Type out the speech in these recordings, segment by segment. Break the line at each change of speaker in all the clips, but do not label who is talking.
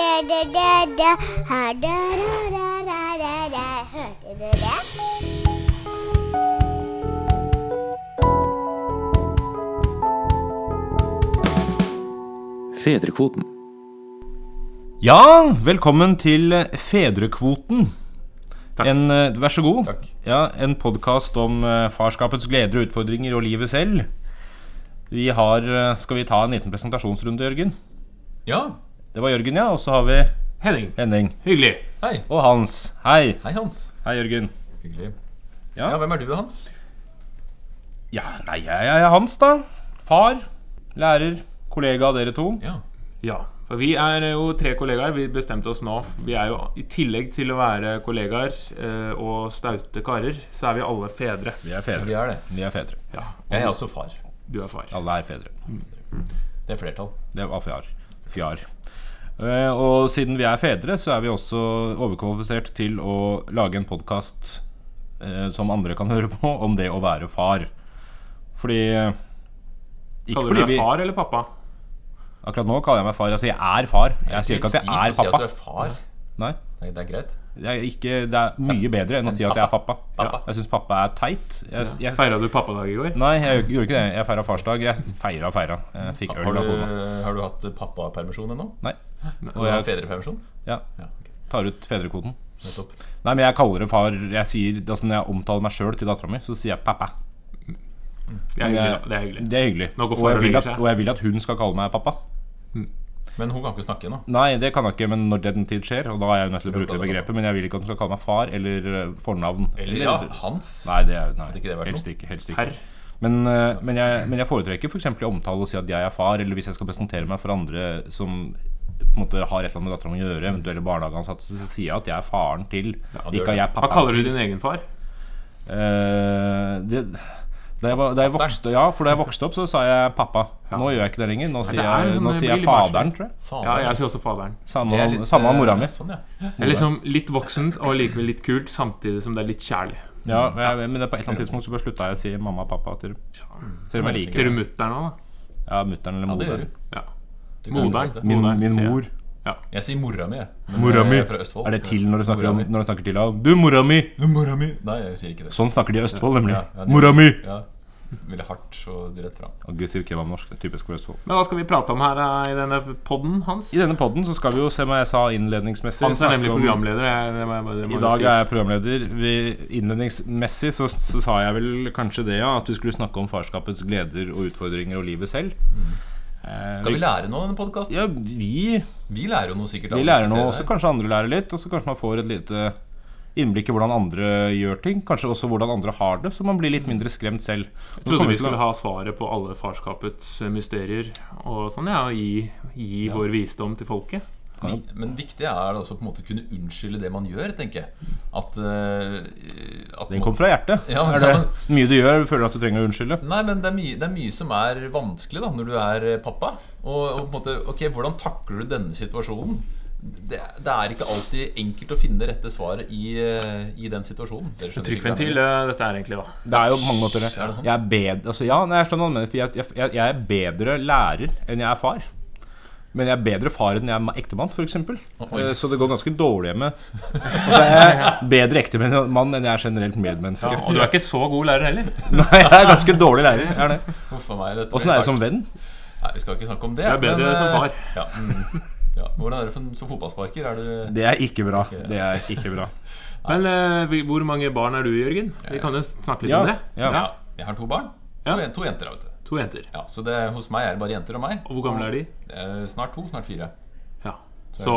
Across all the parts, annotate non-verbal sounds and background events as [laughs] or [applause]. da-da-da-da, ha-da-da-da-da-da-da. Hørte du det?
Fedrekvoten.
Ja, velkommen til Fedrekvoten.
Takk.
En, eh, vær så god.
Takk.
Ja, en podkast om eh, farskapets gleder og utfordringer og livet selv. Vi har eh, Skal vi ta en liten presentasjonsrunde, Jørgen?
Ja,
Det var Jørgen, ja. Og så har vi
Henning.
Henning.
Hyggelig. Hei.
Og Hans. Hei.
Hei, Hans.
Hei, Jørgen.
Hyggelig.
Ja.
Ja, hvem er du, Hans?
Ja, nei, jeg jeg er Hans, da. Far. Lærer. Kollega av dere to.
Ja.
Ja, for vi er eh, jo tre kollegaer. Vi bestemte oss nå. Vi er jo I tillegg til å være kollegaer eh, og staute karer, så er vi alle fedre.
Vi er fedre.
Vi er det.
Vi er fedre.
Ja,
Jeg er også far.
Du er far.
Alle er fedre.
Det er flertall.
Det var fjar. fjar. Eh, og siden vi er fedre, så er vi også overkvalifisert til å lage en podkast som andre kan høre på, om det å være far. Fordi eh, Ikke
Kaller du
fordi
deg
vi
far eller pappa?
Akkurat nå kaller jeg meg far. Altså, jeg er far. Jeg sier ikke at jeg er
Stivt å si at du
pappa.
er far.
Nei,
Nei, det er greit.
det er, ikke, det er mye bedre enn å si at jeg er pappa. Ja,
Pappa.
Jeg syns pappa er teit. Jeg, jeg,
Feira du pappadag i går?
nei, jeg gjorde ikke det. Jeg feira farsdag. Jeg feira og feira. Jeg fikk øl
Har
av
du,
kona.
har du hatt pappapermisjon ennå?
Nei.
Og
Og
jeg har
jeg
fedrepermisjon?
ja,
Ja, ok.
tar ut fedrekvoten.
Nettopp.
Nei, men jeg kaller det far Jeg sier, altså Når jeg omtaler meg sjøl til dattera mi, så sier jeg pappa.
Det er hyggelig. da. Det er hyggelig.
Det er hyggelig.
Nå går
Og
far
jeg,
og
vil
legger
at,
seg.
og jeg vil at hun skal kalle meg pappa.
Men hun kan ikke snakke ennå.
Nei, det kan jeg ikke, men når den tid skjer, og da er jeg jo nødt til å bruke det
kaller
begrepet, men jeg vil ikke at hun skal kalle meg far eller eh, fornavn.
Eller ja, Hans.
Nei, det er, nei
Hadde ikke det vært
helst
noe?
ikke. Helst ikke.
Herr.
Men, eh, men, jeg, men jeg foretrekker f.eks. i omtale å si at jeg er far, eller hvis jeg skal presentere meg for andre som på en måte har et eller annet med dattera mi å gjøre, eventuelle barnehageansatte, så sier jeg at jeg er faren til,
du gjør
ikke at jeg er
Hva
pappaen
kaller du din egen far?
Eh, det, da jeg, var, da, jeg vokste, ja, for da jeg vokste opp, så sa jeg pappa. Nå gjør jeg ikke det lenger. Nå sier
det er
jeg,
sånn,
nå
det
sier jeg
blir litt
faderen, tror jeg.
Fader.
Ja, jeg sier også faderen.
Samme,
Det er
med
litt,
samme med mora
eh,
mi.
Sånn, ja.
Det er liksom litt voksent og likevel litt kult, samtidig som det er litt kjærlig.
Ja, men jeg- men det er på et eller annet tidspunkt så bare slutta jeg å si mamma og pappa til Selv om jeg liker
Sier du mutter'n òg,
ja, mutter'n eller
Ja, det gjør
moderen.
du.
da? Ja.
Du kan
Moderen.
det.
Min,
Moderen, sier
min
jeg.
mor.
Jeg sier mora mi. jeg. Men
Mora
jeg
mi.
er Fra Østfold.
Er det
så-
til når du snakker,
Mora
om,
mi.
når du snakker til henne? Du, mora mi!
Mora mi. Nei, jeg sier ikke det.
Sånn snakker de i Østfold, nemlig.
Ja, ja, det-
Mora mi!
Ja. Veldig hardt og rett fram.
Aggressiv kebabnorsk. det er Typisk for Østfold.
Men hva skal vi prate om her eh, i denne podden, Hans?
I denne podden så skal vi jo se hva jeg sa innledningsmessig.
Hans er
snakke
nemlig
om-
programleder. jeg- Det må jeg, bare- det
I
må jo
dag er jeg
sies.
programleder. Vi, innledningsmessig så, så sa jeg vel kanskje det, ja. At du skulle snakke om farskapets gleder og utfordringer og livet selv. Eh,
Skal vi lære noe av denne podkasten?
Ja, vi,
Vi lærer jo noe sikkert. av
vi
å
lærer noe.
diskutere
Også
det her.
kanskje andre lærer litt. Og så kanskje man får et lite innblikk i hvordan andre gjør ting. Kanskje også hvordan andre har det, så man blir litt mindre skremt selv.
Jeg trodde vi skulle ha svaret på alle farskapets eh, mysterier og sånn, ja, og gi, gi vår visdom til folket.
Vi- Men viktig er det også på en måte å kunne unnskylde det man gjør, tenker jeg. At, eh, at
Den kom fra hjertet.
Ja, men-
er det mye du gjør, føler du at du trenger å unnskylde?
Nei, men det er, mye, det er mye som er vanskelig da, når du er eh, pappa. Og, og på en måte, ok, Hvordan takler du denne situasjonen? Det, det er ikke alltid enkelt å finne det rette svaret i, eh, i den situasjonen. Dere skjønner sikkert hva jeg
Trykkventil,
mener.
eh, dette er egentlig, da.
Det er jo på mange måter det.
Er det sånn?
Jeg er bedre, altså, ja, nei, jeg skjønner hva du mener. For jeg, jeg, jeg er bedre lærer enn jeg er far. Men jeg er bedre far enn jeg er ma- ektemann, f.eks. Så det går ganske dårlig hjemme. Og så er jeg bedre ektemann enn jeg er generelt medmenneske.
Og du er ikke så god lærer heller.
[laughs] Nei, jeg er ganske dårlig lærer. jeg Er det.
Huff a meg, dette
Åssen
blir
er jeg
hardt.
som venn?
Nei, Vi skal ikke snakke om det.
Du er
men,
bedre
eh,
som far.
Ja, mm, ja. Hvordan er det for, som fotballsparker? Er du
Det er ikke bra. Det er ikke bra.
Men eh, vi- hvor mange barn er du, Jørgen? Vi kan jo snakke litt
Ja,
om det.
ja.
Ja, jeg har to barn.
Ja.
To, to jenter. da, vet du.
To jenter.
Ja, så det, hos meg er det bare jenter og meg.
Og hvor gamle er de?
Eh, snart to, snart fire.
Ja. Så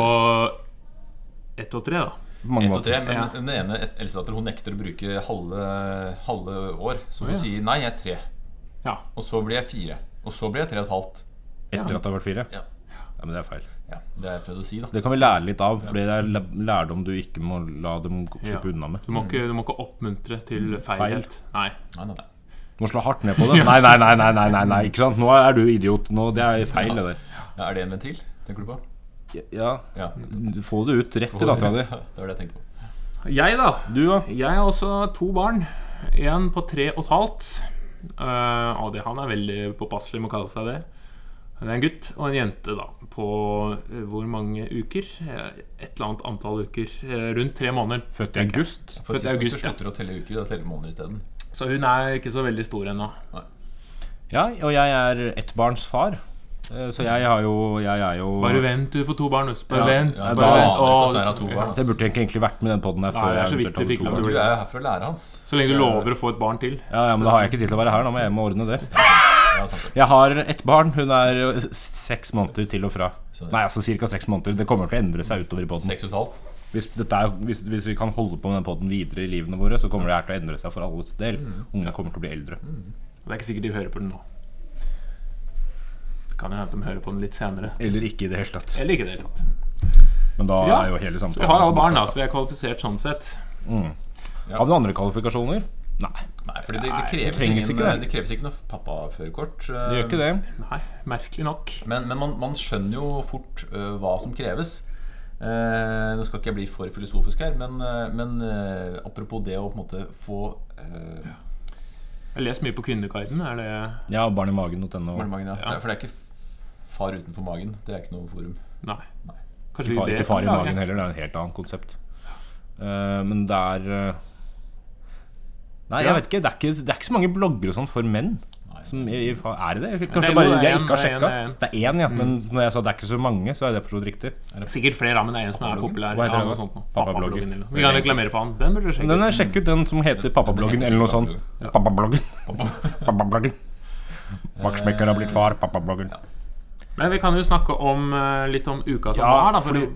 ett og tre, da.
På mange
Ett og tre,
måter.
men
Ja.
den ene et- eldstedatter hun nekter å bruke halve, halve år. Så hun
Å, ja.
sier nei, jeg er tre.
Ja.
Og så blir jeg fire. Og så blir jeg tre og et halvt.
Etter at det har vært fire?
Ja.
Ja, men det er feil.
Ja, det har jeg prøvd å si, da.
Det kan vi lære litt av, for det er læ- lærdom du ikke må la dem slippe
Ja.
unna med.
Du må ikke, du må ikke oppmuntre til feilhet. Nei.
Nei, nei, nei.
Du må slå hardt ned på det. Nei, nei, nei, nei, nei, nei, nei ikke sant? Nå er du idiot. Nå, det er feil, det der.
Ja, er det en ventil? Tenker du på?
Ja,
Ja.
Få det ut rett til dattera di.
Det var det jeg tenkte på.
Jeg, da.
Du, da?
Jeg har også to barn. En på tre og et halvt. Eh, og det, han er veldig påpasselig med å kalle seg det. Det er en gutt og en jente da på eh, hvor mange uker? Eh, Et eller annet antall uker. eh, Rundt tre måneder.
Født i august.
For
Født i
tidspunkt
august,
så slutter du å telle uker, da teller du måneder isteden.
Så hun er ikke så veldig stor ennå.
Ja, og jeg er ettbarnsfar. eh, Så jeg har jo Jeg er jo
Bare vent, du får to barn. Nuss. Bare
Ja,
vent.
Ja,
bare
da-
vent. Å,
det er av to barn, ass.
Så jeg burde egentlig ikke vært med i den poden her
Nei,
før
det er så vidt
eventuelt
vi fikk
hadde
lov
to barn.
til å
Du er jo her for å lære hans.
Så lenge du lover å få et barn til.
Ja, ja, men da har jeg ikke tid til å være her. Da må jeg hjem og ordne det.
Ja, sant det.
Jeg har ett barn. Hun er eh, seks måneder til og fra.
Så-
Nei, altså ca. seks måneder. Det kommer til å endre seg utover i poden.
Seks og et halvt.
Hvis, dette er- hvis, hvis vi kan holde på med den poden videre i livene våre, så kommer det her til å endre seg for alles del. Ungene kommer til å bli eldre.
Det er ikke sikkert de hører på den nå. Det kan jo hende at de hører på den litt senere.
Eller ikke i det hele tatt.
Eller ikke det hele tatt.
Men da
Ja,
er jo hele
Så
samtalen
vi har alle barn, da, så vi er kvalifisert sånn sett.
Har vi noen andre kvalifikasjoner? Nei,
Nei, fordi det, det,
det
kreves
trengs
ingen, eh,
ikke det.
det kreves ikke noe pappaførerkort.
det gjør ikke det.
Nei, merkelig nok.
Men, men man, man skjønner jo fort øh, hva som kreves. Eh, nå skal ikke jeg bli for filosofisk her, men, eh, men eh, apropos det å på en måte få eh,
Jeg leser mye på Kvinneguiden. Er det
Jeg har barnimagen.no.
barnemagen, ja. Det er- For det er ikke f- far utenfor magen. Det er ikke noe forum.
Nei.
Ikke
Kanskje vi
far,
det
ikke far i
kan lage?
magen heller, det er et helt annet konsept. Eh, men det er eh, Nei, jeg
Ja.
vet ikke. Det er ikke, det er ikke så mange blogger og sånn for menn.
Nei.
Som i, i, er det det? Kanskje
det
det
er
er bare
noe, det er
jeg
en,
ikke har
det er en, Mm.
sjekka?
det
Det er én, ja. Men når jeg sa det er ikke så mange, så er det forstått riktig.
Sikkert flere, da, men det er en som er populær.
Hva heter
Ja,
den
noe
da?
sånt nå.
Pappablogger.
Pappabloggen, eller noe. Vi kan reklamere for han. Den burde du sjekke.
Men den er, sjekk ut den som heter Pappabloggen eller noe sånt. Pappabloggen.
[laughs]
Pappabloggen. Maksmekker har blitt far. Pappabloggen.
Men vi kan jo snakke om eh, litt om uka som
Ja,
var, da. For
fordi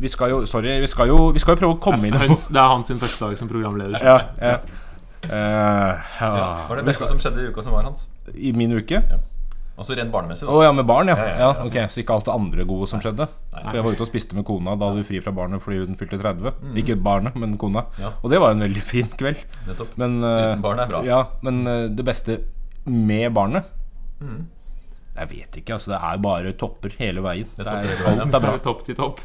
vi skal jo Sorry, vi skal jo, vi skal jo prøve å komme
[laughs]
inn
det er hans- det er hans sin første dag som programleder.
Ja, ja. Eh, ja.
Hva er det beste som skjedde i uka som var hans?
I min uke?
Altså rent barnemessig,
Å
da.
ja, med barn, ja.
ja,
ja ok, Så ikke alt det andre gode som skjedde? For jeg var ute og spiste med kona. Da hadde vi fri fra barnet fordi hun fylte 30. Ikke barnet, men kona.
Mm. Ja.
Og det var en veldig fin kveld.
Nettopp.
Men, eh,
Uten barn er bra.
Ja, men eh, det beste med barnet
Mm.
Jeg vet ikke, altså. Det er bare topper hele veien.
Det
Det
er
er,
topper hele veien, ja.
alt er bra.
Fra Topp til topp.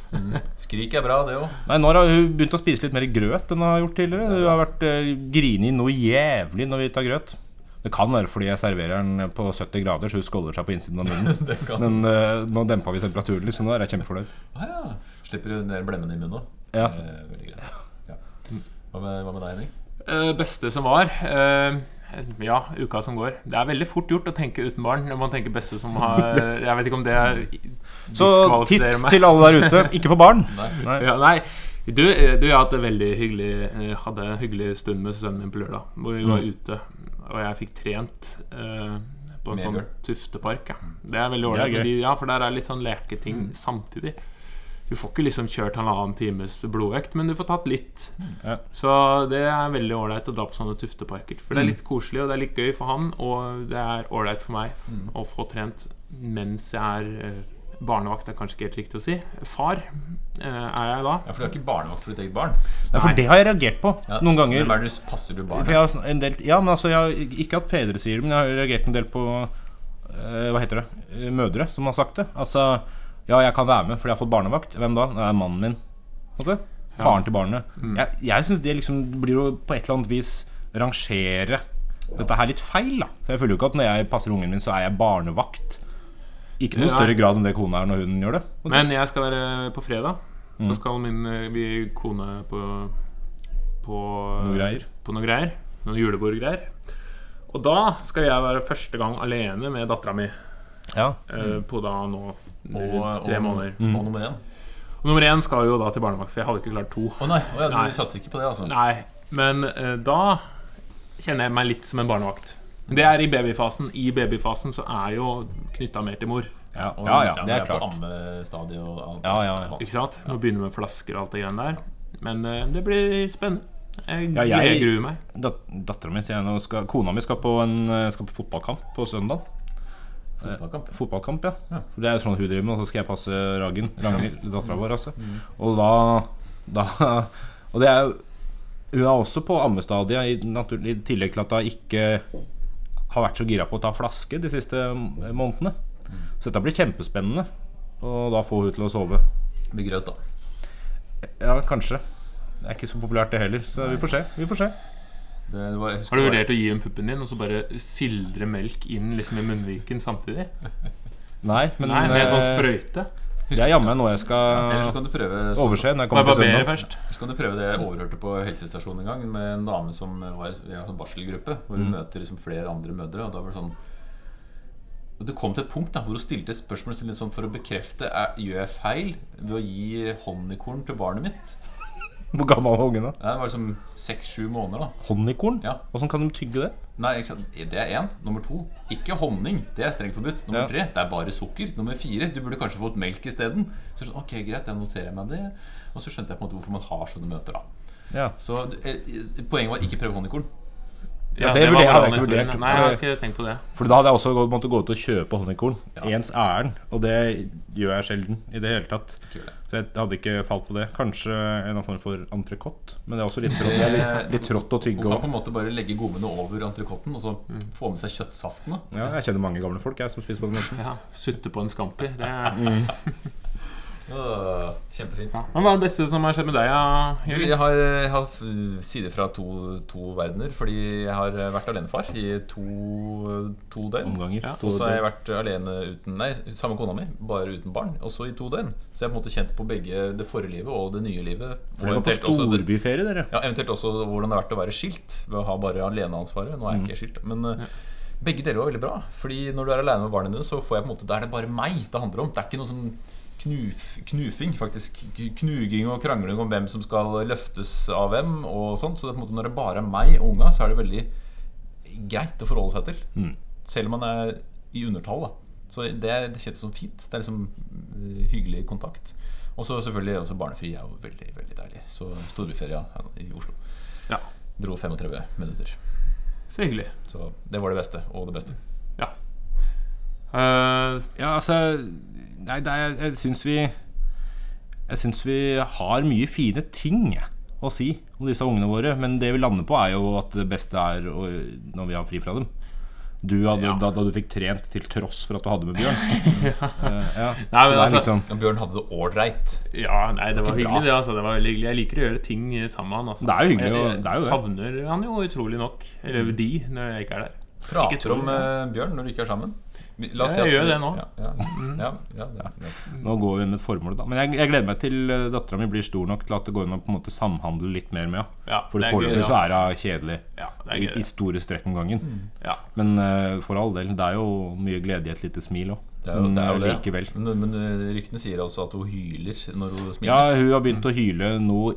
Skrik er bra, det òg.
Nei, Nå har hun begynt å spise litt mer grøt enn hun har gjort tidligere. Hun har vært eh, grini noe jævlig når vi tar grøt. Det kan være fordi jeg serverer den på 70 grader, så hun skåler seg på innsiden av munnen.
[laughs] Det kan.
Men eh, nå dempa vi temperaturen litt, så nå er jeg kjempefornøyd.
Ah, ja. Slipper du ned blemmene i munnen. da.
Ja.
Eh, veldig greit. Ja. Hva, med, hva med deg, Henning?
Eh, beste som var eh, Ja, uka som går. Det er veldig fort gjort å tenke uten barn når man tenker beste som har
[laughs]
Jeg vet ikke om det
Så
diskvalifiserer
tips
meg.
til alle der ute, ikke få
[laughs]
barn. Nei.
Ja, nei, du, eh, du jeg har hatt en veldig hyggelig eh, Hadde en hyggelig stund med sønnen min på lørdag Hvor vi
Mm.
var ute Og jeg fikk trent eh, På en
Med
sånn
bjørn. Mm.
tuftepark ja. Det er
Det
veldig
er
ordentlig
gøy.
fordi, Ja, for der er litt sånn leketing samtidig Du får ikke liksom kjørt halvannen times blodvekt Men du får tatt litt
Ja.
Så det er veldig ordentlig å dra på sånne tufteparker For
Mm.
det er litt koselig og det er litt gøy for han Og det er ordentlig for meg
Mm.
Å få trent mens jeg er eh, Barnevakt er kanskje ikke helt riktig å si Far eh, er jeg da
Ja, For du er ikke barnevakt for ditt eget barn?
Ja, for det har jeg reagert på
Ja.
noen ganger.
Hvem er det du passer du
For
barnet?
jeg har sånn en del, ja, men altså, jeg har, ikke at fedre sier det, men jeg har reagert en del på eh, Hva heter det? Eh, Mødre som har sagt det. Altså Ja, jeg kan være med fordi jeg har fått barnevakt. Hvem da? Det er mannen min. Altså, faren til barnet. Jeg, jeg syns det liksom blir å på et eller annet vis rangere dette her litt feil, da. For jeg føler jo ikke at når jeg passer ungen min, så er jeg barnevakt. Ikke noe
Nei.
større grad enn det kona er når hun gjør det. Og
Men jeg skal være på fredag.
Mm.
Så skal min eh, vi- kone på på
Noe greier.
På noe greier. Noen julebordgreier. Og da skal jeg være første gang alene med dattera mi.
Ja.
eh, På da nå rundt
Og,
tre
og,
måneder.
og
Mm.
nummer én?
Og nummer én skal jo da til barnevakt, for jeg hadde ikke klart to.
Å nei, å ja, du
Nei.
satser ikke på det, altså?
Nei, men eh, da kjenner jeg meg litt som en barnevakt. Det er i babyfasen. I babyfasen så er jo knytta mer til mor.
Ja,
Og,
ja, ja, det er
På
klart.
ammestadiet og alt.
Ja, ja, ja.
Ikke sant? Nå begynner vi med flasker og alt det greiene der. Men eh, det blir spennende. Jeg,
Ja, jeg-
jeg gruer meg.
Dat Dattera mi sier jeg nå skal, Kona mi skal på, en, eh, skal på fotballkamp på søndag.
Fotballkamp.
Fotballkamp, ja. For det er jo sånn hun driver med, og så skal jeg passe Ragen. Ragnhild, dattera vår, altså. Og da, da [laughs] Og det er jo Hun er også på ammestadiet, i, natur- i tillegg til at hun ikke har vært så gira på å ta flaske de siste eh, månedene. Så dette blir kjempespennende. Og da får hun til å sove.
Med grøt, da.
Ja, kanskje. Det er ikke så populært, det heller. Så vi får se. Vi får se.
Det, det var, jeg husker
Har du
det var-
vurdert å gi dem puppen din og så bare sildre melk inn liksom i munnviken samtidig?
Nei, men
Nei, med en sånn
eh,
sprøyte.
det er jammen noe jeg
Ellers så
skal
kan du prøve
overse når jeg
Må jeg
kommer til
barbere
søndag.
først?
Så kan du prøve det jeg overhørte på helsestasjonen en gang med en dame som var i en sånn barselgruppe, hvor
Mm.
hun møter liksom flere andre mødre. Og da var det sånn og Det kom til et punkt da, hvor hun stilte et spørsmål til litt sånn for å bekrefte er, gjør jeg feil ved å gi honningkorn til barnet mitt.
Hvor gammel var ungen da?
Det var liksom seks-sju måneder, da.
Honningkorn?
Ja.
Åssen kan de tygge det?
Nei, ikke sant? det er én. Nummer to ikke honning. Det er strengt forbudt. Nummer
Ja.
tre det er bare sukker. Nummer fire du burde kanskje fått melk isteden. Så sånn, ok, greit, jeg noterer meg det. Og så skjønte jeg på en måte hvorfor man har sånne møter, da.
Ja.
Så eh, poenget var ikke prøve honningkorn.
Ja, det vurderer-
var
jeg har ikke
historien.
vurdert.
Nei, jeg har ikke tenkt på det.
For da hadde jeg også gått- måtte gå ut og kjøpe honningkorn. Ens ærend. Og det gjør jeg sjelden i det hele tatt.
Tror jeg.
Så jeg hadde ikke falt på det. Kanskje en annen form for entrecôte. Men det er også litt trått, det er litt, litt trått å tygge
Man kan på
òg.
en måte bare legge gommene over entrecôten og så få med seg kjøttsaftene.
Ja, jeg kjenner mange gamle folk jeg, som spiser på den måten.
Ja, Sutte på en scampi. Det er...
Mm.
Øh, kjempefint.
ja. Men Hva er det beste som har skjedd med deg, ja,
Du,
Jørgen?
Jeg har, jeg har f- sider fra to, to verdener, fordi jeg har vært alenefar i to, to døgn.
Omganger.
Ja,
Og så har jeg
Ja,
vært alene uten, nei, sammen med kona mi, bare uten barn, også i to døgn. Så jeg har på en måte kjent på begge det forrige livet og det nye livet. Og
Dere var på
eventuelt også det-
storbyferie, dere.
Ja, Eventuelt også hvordan det har vært å være skilt ved å ha bare aleneansvaret. Nå er jeg ikke skilt, men eh, begge deler var veldig bra. Fordi når du er alene med barna dine, så får jeg på en måte Da er det bare meg det handler om. Det er ikke noe sånn knuf, knufing, faktisk. K- Knuging og krangling om hvem som skal løftes av hvem og sånt. Så det er på en måte når det bare er meg og unga, så er det veldig greit å forholde seg til. Selv om man er i undertall, da. Så det, det kjennes som fint. Det er liksom eh, hyggelig kontakt. Og så selvfølgelig også barnefri er jo veldig veldig deilig. Så storbyferie ja, i Oslo.
Ja,
Dro 35 minutter.
så hyggelig.
Så det var det beste, og det beste.
Ja. Eh,
Ja, altså Nei, det er, jeg syns vi Jeg syns vi har mye fine ting å si om disse ungene våre. Men det vi lander på, er jo at det beste er å, når vi har fri fra dem. Du hadde,
Ja.
da, da du fikk trent til tross for at du hadde med
[laughs]
Bjørn. Eh, ja.
Nei,
Så det er
men altså,
liksom
Ja, Bjørn hadde det ålreit.
ja, nei, det
Ikke
var
bra.
hyggelig, det. altså Det var veldig hyggelig Jeg liker å gjøre ting sammen med han. Altså.
Det er jo hyggelig,
Jeg-
og- det Mm. er jo det.
savner han jo utrolig nok. Eller de, når jeg ikke er der. Ikke
Prater
tro
om eh, Bjørn når du ikke er sammen. Vi- La
Ja, jeg gjør det nå. Mm.
Ja, ja, ja, ja, det- det-
Nå går vi med et formål, da. Men jeg, jeg gleder meg til eh, dattera mi blir stor nok til at det går an å på en måte samhandle litt mer med henne.
Ja,
For
det er
foreløpig
gøy,
så er hun kjedelig.
Ja, Mm. det
I,
er gøy.
I store strekk om gangen.
Ja.
Men eh, for all del, det er jo mye glede i et lite smil òg.
det er jo-
Men
det er jo
Mm,
eh,
det.
likevel.
Men, men eh, ryktene sier også at hun hyler når hun
Ja,
smiler.
hun har begynt å hyle noe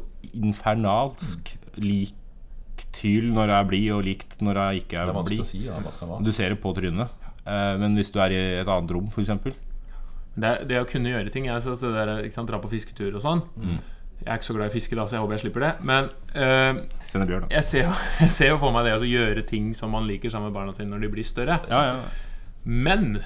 infernalsk. Likt hyl når jeg er blid, og likt når jeg ikke
det er
er
vanskelig å
blid.
si. Ja, hva skal man ha.
Du ser det på trynet. Eh, Men hvis du er i et annet rom, f.eks.
Det, det å kunne gjøre ting jeg synes det der, ikke sant, Dra på fisketur og sånn.
Mm.
Jeg er ikke så glad i fiske, da, så jeg håper jeg slipper det. Men eh,
Sender Bjørn, da.
jeg, ser, jo- [laughs] jeg ser jo for meg det å gjøre ting som man liker sammen med barna sine når de blir større.
Ja, ja.
Men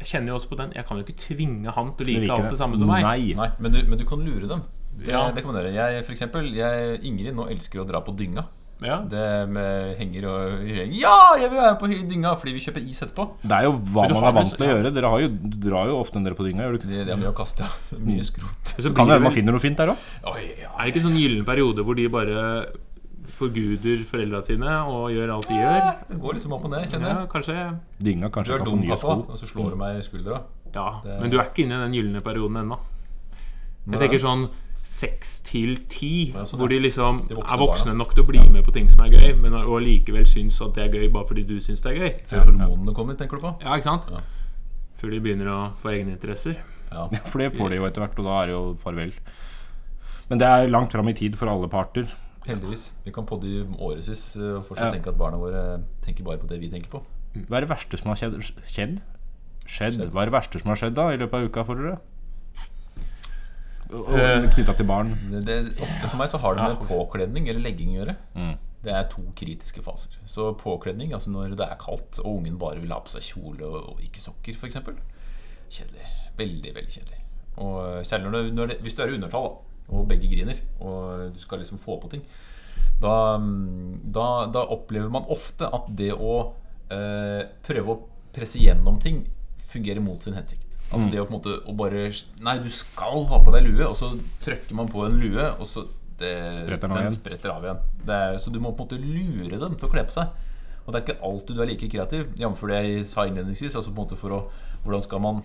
jeg kjenner jo også på den Jeg kan jo ikke tvinge han til å like
liker
alt det samme som meg.
Nei.
Nei, men du, men du kan lure dem. Det,
Ja.
det kan man gjøre. Jeg, for eksempel, jeg, Ingrid nå elsker å dra på dynga.
Ja.
Det med henger og Ja, jeg vil være på dynga! Fordi vi kjøper is etterpå.
Det er jo hva
Men du
man
har
er vant
vel-
til å gjøre. Dere har jo, du drar jo ofte en dere på dynga. Gjør du ikke?
Det, det har vi jo kasta [laughs] mye skrot.
Så
Kan
blir
det hende
vel-
man finner noe fint der òg.
Oi, ja.
Er det ikke sånn gyllen periode hvor de bare forguder foreldra sine og gjør alt de gjør?
Det går liksom opp og ned, kjenner
Ja,
jeg.
kanskje
Dynga
Du
kanskje
er
kan få
dum,
nye
pappa,
sko.
og så slår du meg i skuldra.
Ja,
Det-
men du er ikke inne i den gylne perioden ennå. Jeg tenker sånn seks til ti,
Ja, sånn,
hvor de liksom
De voksne
er voksne
barna.
nok til å bli med på ting som er gøy, men og likevel syns at det er gøy bare fordi du syns det er gøy.
Før hormonene kommer, tenker du på?
Ja, ikke sant?
Ja.
Før de begynner å få egne interesser.
Ja.
For det får de jo etter hvert, og da er det jo farvel. Men det er langt fram i tid for alle parter.
Heldigvis. Vi kan podde i årevis eh, og fortsatt
Ja.
tenke at barna våre tenker bare på det vi tenker på.
Hva er det verste som har skjedd? Skjedd? skjedd. Hva er det verste som har skjedd da i løpet av uka for dere?
Eh.
Knytta til barn.
Det, det, ofte for meg så har det med påkledning eller legging å gjøre. Det er to kritiske faser. Så påkledning, altså når det er kaldt og ungen bare vil ha på seg kjole og, og ikke sokker, f.eks. Kjedelig. Veldig, veldig kjedelig. Og eh, særlig når det, når det, hvis du er i undertall, da, og begge griner, og du skal liksom få på ting, da, mm, da, da opplever man ofte at det å eh, prøve å presse gjennom ting fungerer mot sin hensikt.
Mm.
Altså det å på en måte å bare Nei, du skal ha på deg lue, og så trykker man på en lue, og så det,
Spretter den av igjen.
spretter av igjen. Det er, så du må på en måte lure dem til å kle på seg. Og det er ikke alltid du er like kreativ, jf. det jeg sa innledningsvis. Altså på en måte for å Hvordan skal man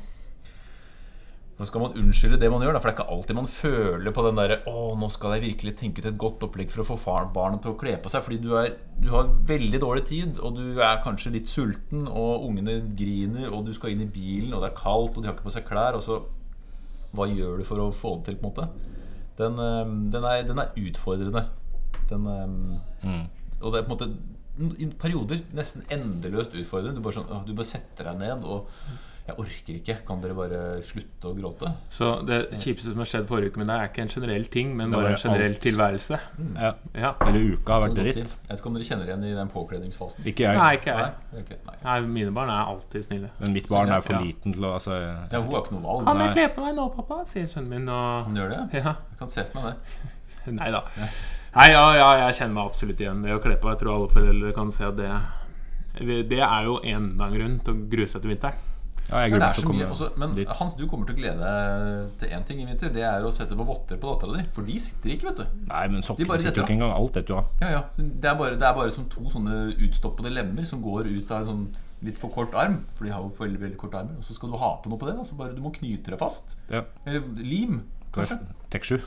Nå skal man unnskylde det man gjør, da, for det er ikke alltid man føler på den derre Å, nå skal jeg virkelig tenke ut et godt opplegg for å få far- barnet til å kle på seg. Fordi du, er, du har veldig dårlig tid, og du er kanskje litt sulten, og ungene griner, og du skal inn i bilen, og det er kaldt, og de har ikke på seg klær. Og så Hva gjør du for å få det til, på en måte? Den, eh, den, er, den er utfordrende. Den eh, Og det er på en måte i perioder nesten endeløst utfordrende. Du bare, sånn, «Åh, du bare setter deg ned og Jeg orker ikke. Kan dere bare slutte å gråte?
Så det kjipeste som har skjedd forrige uke med deg, er ikke en generell ting, men
Det var
bare en generell
alt.
tilværelse.
Ja.
Ja.
Hele uka har vært
Kan du godt
dritt.
si. Jeg vet ikke om dere kjenner igjen i den påkledningsfasen.
Ikke jeg.
Nei, ikke
Nei,
jeg.
ok, nei.
Nei, mine barn er alltid snille.
Men mitt barn er for
Ja.
liten til å altså,
Ja, hun har ikke noe valg.
Kan jeg kle på meg nå, pappa? sier sønnen min. Og
Hun gjør det?
ja,
Jeg kan se for meg det.
Nei da. Nei, ja, ja, jeg kjenner meg absolutt igjen ved å kle på. Jeg tror alle foreldre kan se at det Det er jo enda en grunn til å grue seg til vinteren.
ja, jeg
Men, det
gruer meg
er
til
så
å
mye, altså,
komme
også, men
dit.
Hans, du kommer til å glede deg til én ting i vinter. Det er å sette på votter på dattera di. For de sitter ikke, vet du.
Nei, men
De bare
sokkene sitter
setter
jo ikke engang. Alt dette jo av.
Ja, ja. Så Det er bare, det er bare som to sånne utstoppede lemmer som går ut av en sånn litt for kort arm. For de har jo veldig, veldig korte armer. Og så skal du ha på noe på det. Da. Så bare du må knyte det fast.
Ja.
Eller lim. Kanskje.
Tek 7.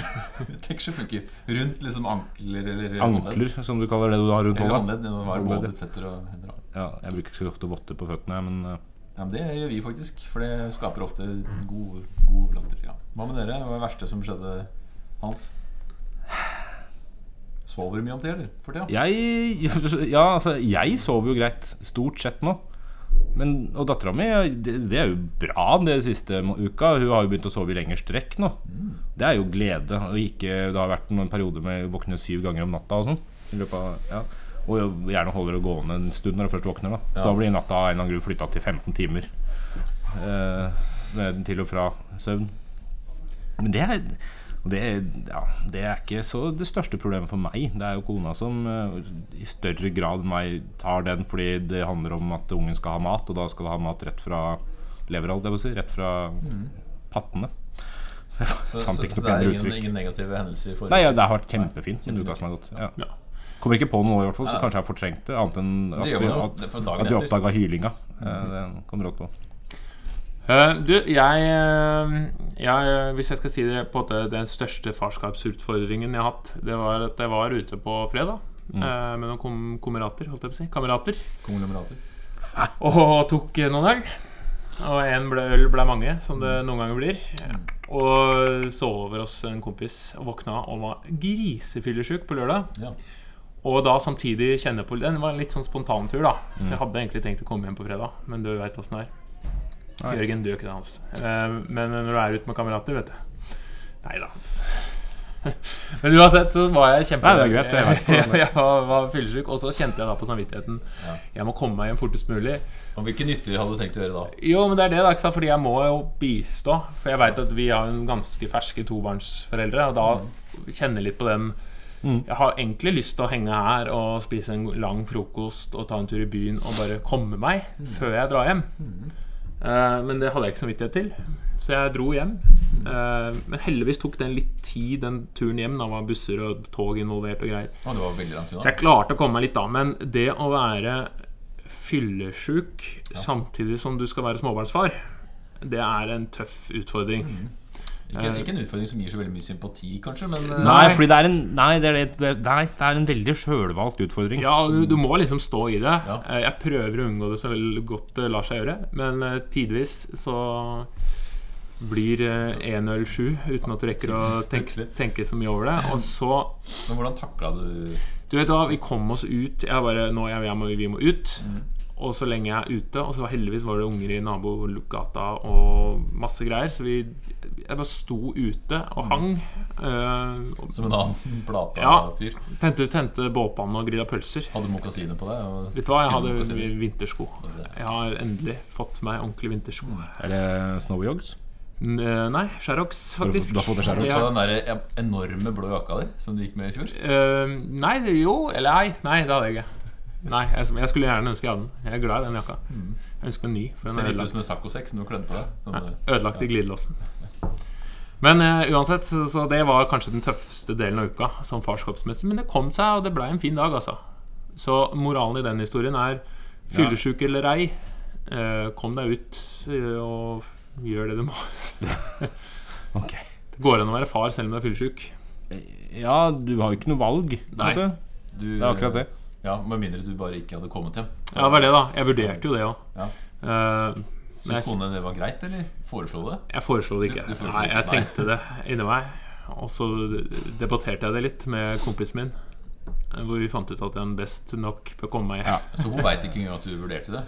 [laughs] Teksje funker. Rundt liksom ankler eller
Ankler, som du kaller det du har rundt
Eller
hånda.
håndledd. Det var
Håndledd, ja.
både føtter og hender.
Ja, jeg bruker ikke så ofte votter på føttene, men eh,
Ja, men Det gjør vi faktisk, for det skaper ofte god, god latter. Ja. Hva med dere? Hva er det verste som skjedde, Hans? Sover du mye om til, eller? For tida?
jeg, [laughs] ja, altså, jeg sover jo greit stort sett nå. Men, og dattera mi, det, det er jo bra det siste må- uka. Hun har jo begynt å sove i lengre strekk nå. Det er jo glede. Og ikke, det har vært noen perioder med å våkne syv ganger om natta og sånn. I løpet av, ja. Og jo gjerne holder det gående en stund når du først våkner. da Så
Ja.
da blir natta av en eller annen grunn flytta til 15 timer. Eh, ned til og fra søvn. Men det er, og det, ja, det er ikke så det største problemet for meg. Det er jo kona som eh, i større grad enn meg tar den fordi det handler om at ungen skal ha mat, og da skal det ha mat rett fra levera, holdt jeg på å si. Rett fra
Mm.
pattene. Jeg
Så, så,
fant ikke
så
noe
det er
penere
ingen,
uttrykk.
ingen negative hendelser i
Nei,
forrige
ja, det har vært kjempefint. Men uka som er gått. Ja.
Ja.
Kommer ikke på noe, i hvert fall, så kanskje jeg fortrengte det. Annet enn at
Det gjør
vi,
man jo,
at,
det er for
at
dagen
vi
etter.
oppdaga hylinga. Eh, Det kom rått på.
Eh, du, jeg, eh, jeg eh, Hvis jeg skal si det på en måte den største farskapsutfordringen jeg har hatt, det var at jeg var ute på fredag
Mm.
eh, med noen kom kamerater, holdt jeg på å si. Kamerater.
konglomerater.
Og tok eh, noen øl. Og én ble øl ble mange, som
Mm.
det noen ganger blir. Og så over oss en kompis og våkna og var grisefyllesyk på lørdag.
Ja.
Og da samtidig kjenne på Den var en litt sånn spontan tur, da. For
Mm.
jeg hadde egentlig tenkt å komme hjem på fredag, men du veit åssen det er.
Nei.
Jørgen, du gjør ikke det, Hans. Eh, Men når du er ute med kamerater, vet du Nei da, Hans. [laughs] men uansett så var jeg kjempe...
Nei, det er greit, jeg vet hvordan
[laughs] jeg var, var fyllesyk, og så kjente jeg da på samvittigheten.
Ja.
Jeg må komme meg hjem fortest mulig.
Og hvilke nytter hadde du tenkt å gjøre da?
Jo, men det er det, da. Ikke sant? Fordi jeg må jo bistå. For jeg veit at vi har en ganske ferske tobarnsforeldre, og da kjenner litt på den Jeg har egentlig lyst til å henge her og spise en lang frokost og ta en tur i byen og bare komme meg før jeg drar hjem. Eh, men det hadde jeg ikke samvittighet til, så jeg dro hjem. Eh, men heldigvis tok den litt tid, den turen hjem. Da var busser og tog involvert og greier.
Å, det var veldig langt
Så
unna.
jeg klarte å komme meg litt da, men det å være fyllesjuk samtidig som du skal være småbarnsfar, det er en tøff utfordring.
Ikke, ikke en utfordring som gir så veldig mye sympati, kanskje, men eh,
Eh. Nei,
Nei.
fordi det er en, nei, det er, det- det, nei, det er en veldig sjølvalgt utfordring.
Ja, du, du må liksom stå i det.
Ja.
Eh, Jeg prøver å unngå det så vel godt det lar seg gjøre, men eh, tidvis så blir én øl sju uten at du rekker å tenke,
Plutselig.
tenke så mye over det. Og så
men hvordan takla du
Du vet hva, vi kom oss ut. Jeg bare, nå jeg, jeg må, Vi må ut.
Mm.
Og så lenge jeg er ute Og så heldigvis var det unger i nabogata og masse greier. Så vi jeg bare sto ute
Mm.
og hang. eh, og
som en annen [laughs]
Ja.
plata-fyr?
tente, tente bålpanne og grilla pølser.
Hadde du mokasiner på deg? og-
Vet du hva, jeg
tynne
hadde
mokasiner?
vintersko. Jeg har endelig fått meg ordentlige vintersko.
Mm, Er det Snowy Yogs?
N- eh, Nei, Sherrox,
Har du fått-
faktisk.
du har fått deg Sherrox?
Du
Ja.
sa den der eh, enorme blå jakka di som du gikk med i fjor?
Eh, nei, det- jo Eller nei, nei, det hadde jeg ikke. Nei, jeg, jeg skulle gjerne ønske jeg hadde den. Jeg er glad i den jakka.
Mm.
Jeg ønsker en ny. for den er
Ser litt
ødelagt.
ut som en saccosekk som du kledde på deg. Sånn, eh,
Ødelagt i glidelåsen. Men eh, uansett, så, så det var kanskje den tøffeste delen av uka, sånn farskapsmessig. Men det kom seg, og det blei en fin dag, altså. Så moralen i den historien er fyllesjuk eller ei, eh, kom deg ut eh, og Gjør
[laughs]
det du må.
Ok.
Det går an å være far selv om du er fyllesyk.
Ja, du har jo ikke noe valg. på en
Nei.
måte.
Du,
Det er akkurat det.
Ja, Med mindre du bare ikke hadde kommet hjem.
Ja, det var det, da. Jeg vurderte jo det òg.
Ja.
men
Syns
jeg,
kona det var greit, eller? Foreslo det?
jeg foreslo det ikke.
Du- du foreslo
Nei,
ikke,
jeg
nei.
tenkte det inni meg. Og så debatterte jeg det litt med kompisen min, hvor vi fant ut at den best nok bør komme meg hjem.
Så Altså, hun veit ikke engang at du vurderte det?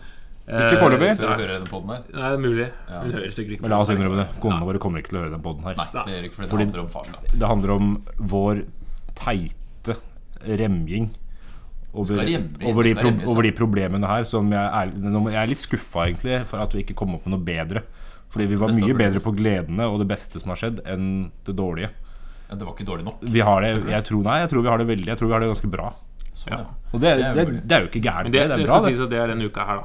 Ikke
foreløpig.
Før hun hører denne podden her?
Eh, Nei, det er mulig.
Ja.
Hun hører sikkert ikke
Men la oss innrømme det. Konene våre kommer ikke til å høre den podden her.
Nei, det gjør ikke for det
Fordi-
handler om farskap.
Det handler om vår teite remjing over,
Skal remje,
over, de,
skal
pro
remje seg.
over de problemene her. Som jeg, er, nå må- jeg er litt skuffa egentlig for at vi ikke kom opp med noe bedre. Fordi vi var
Dette
mye
ble-
bedre på gledene og det beste som har skjedd, enn det dårlige.
Ja, det var ikke dårlig nok.
Vi har det, jeg tror, nei, jeg tror vi har det veldig Jeg tror vi har det ganske bra.
Sånn, ja.
Og det,
Det er
det,
mulig.
det er jo ikke gærent.
Men
Det, det
det,
er
det
bra,
skal
det.
sies at det er denne uka her, da.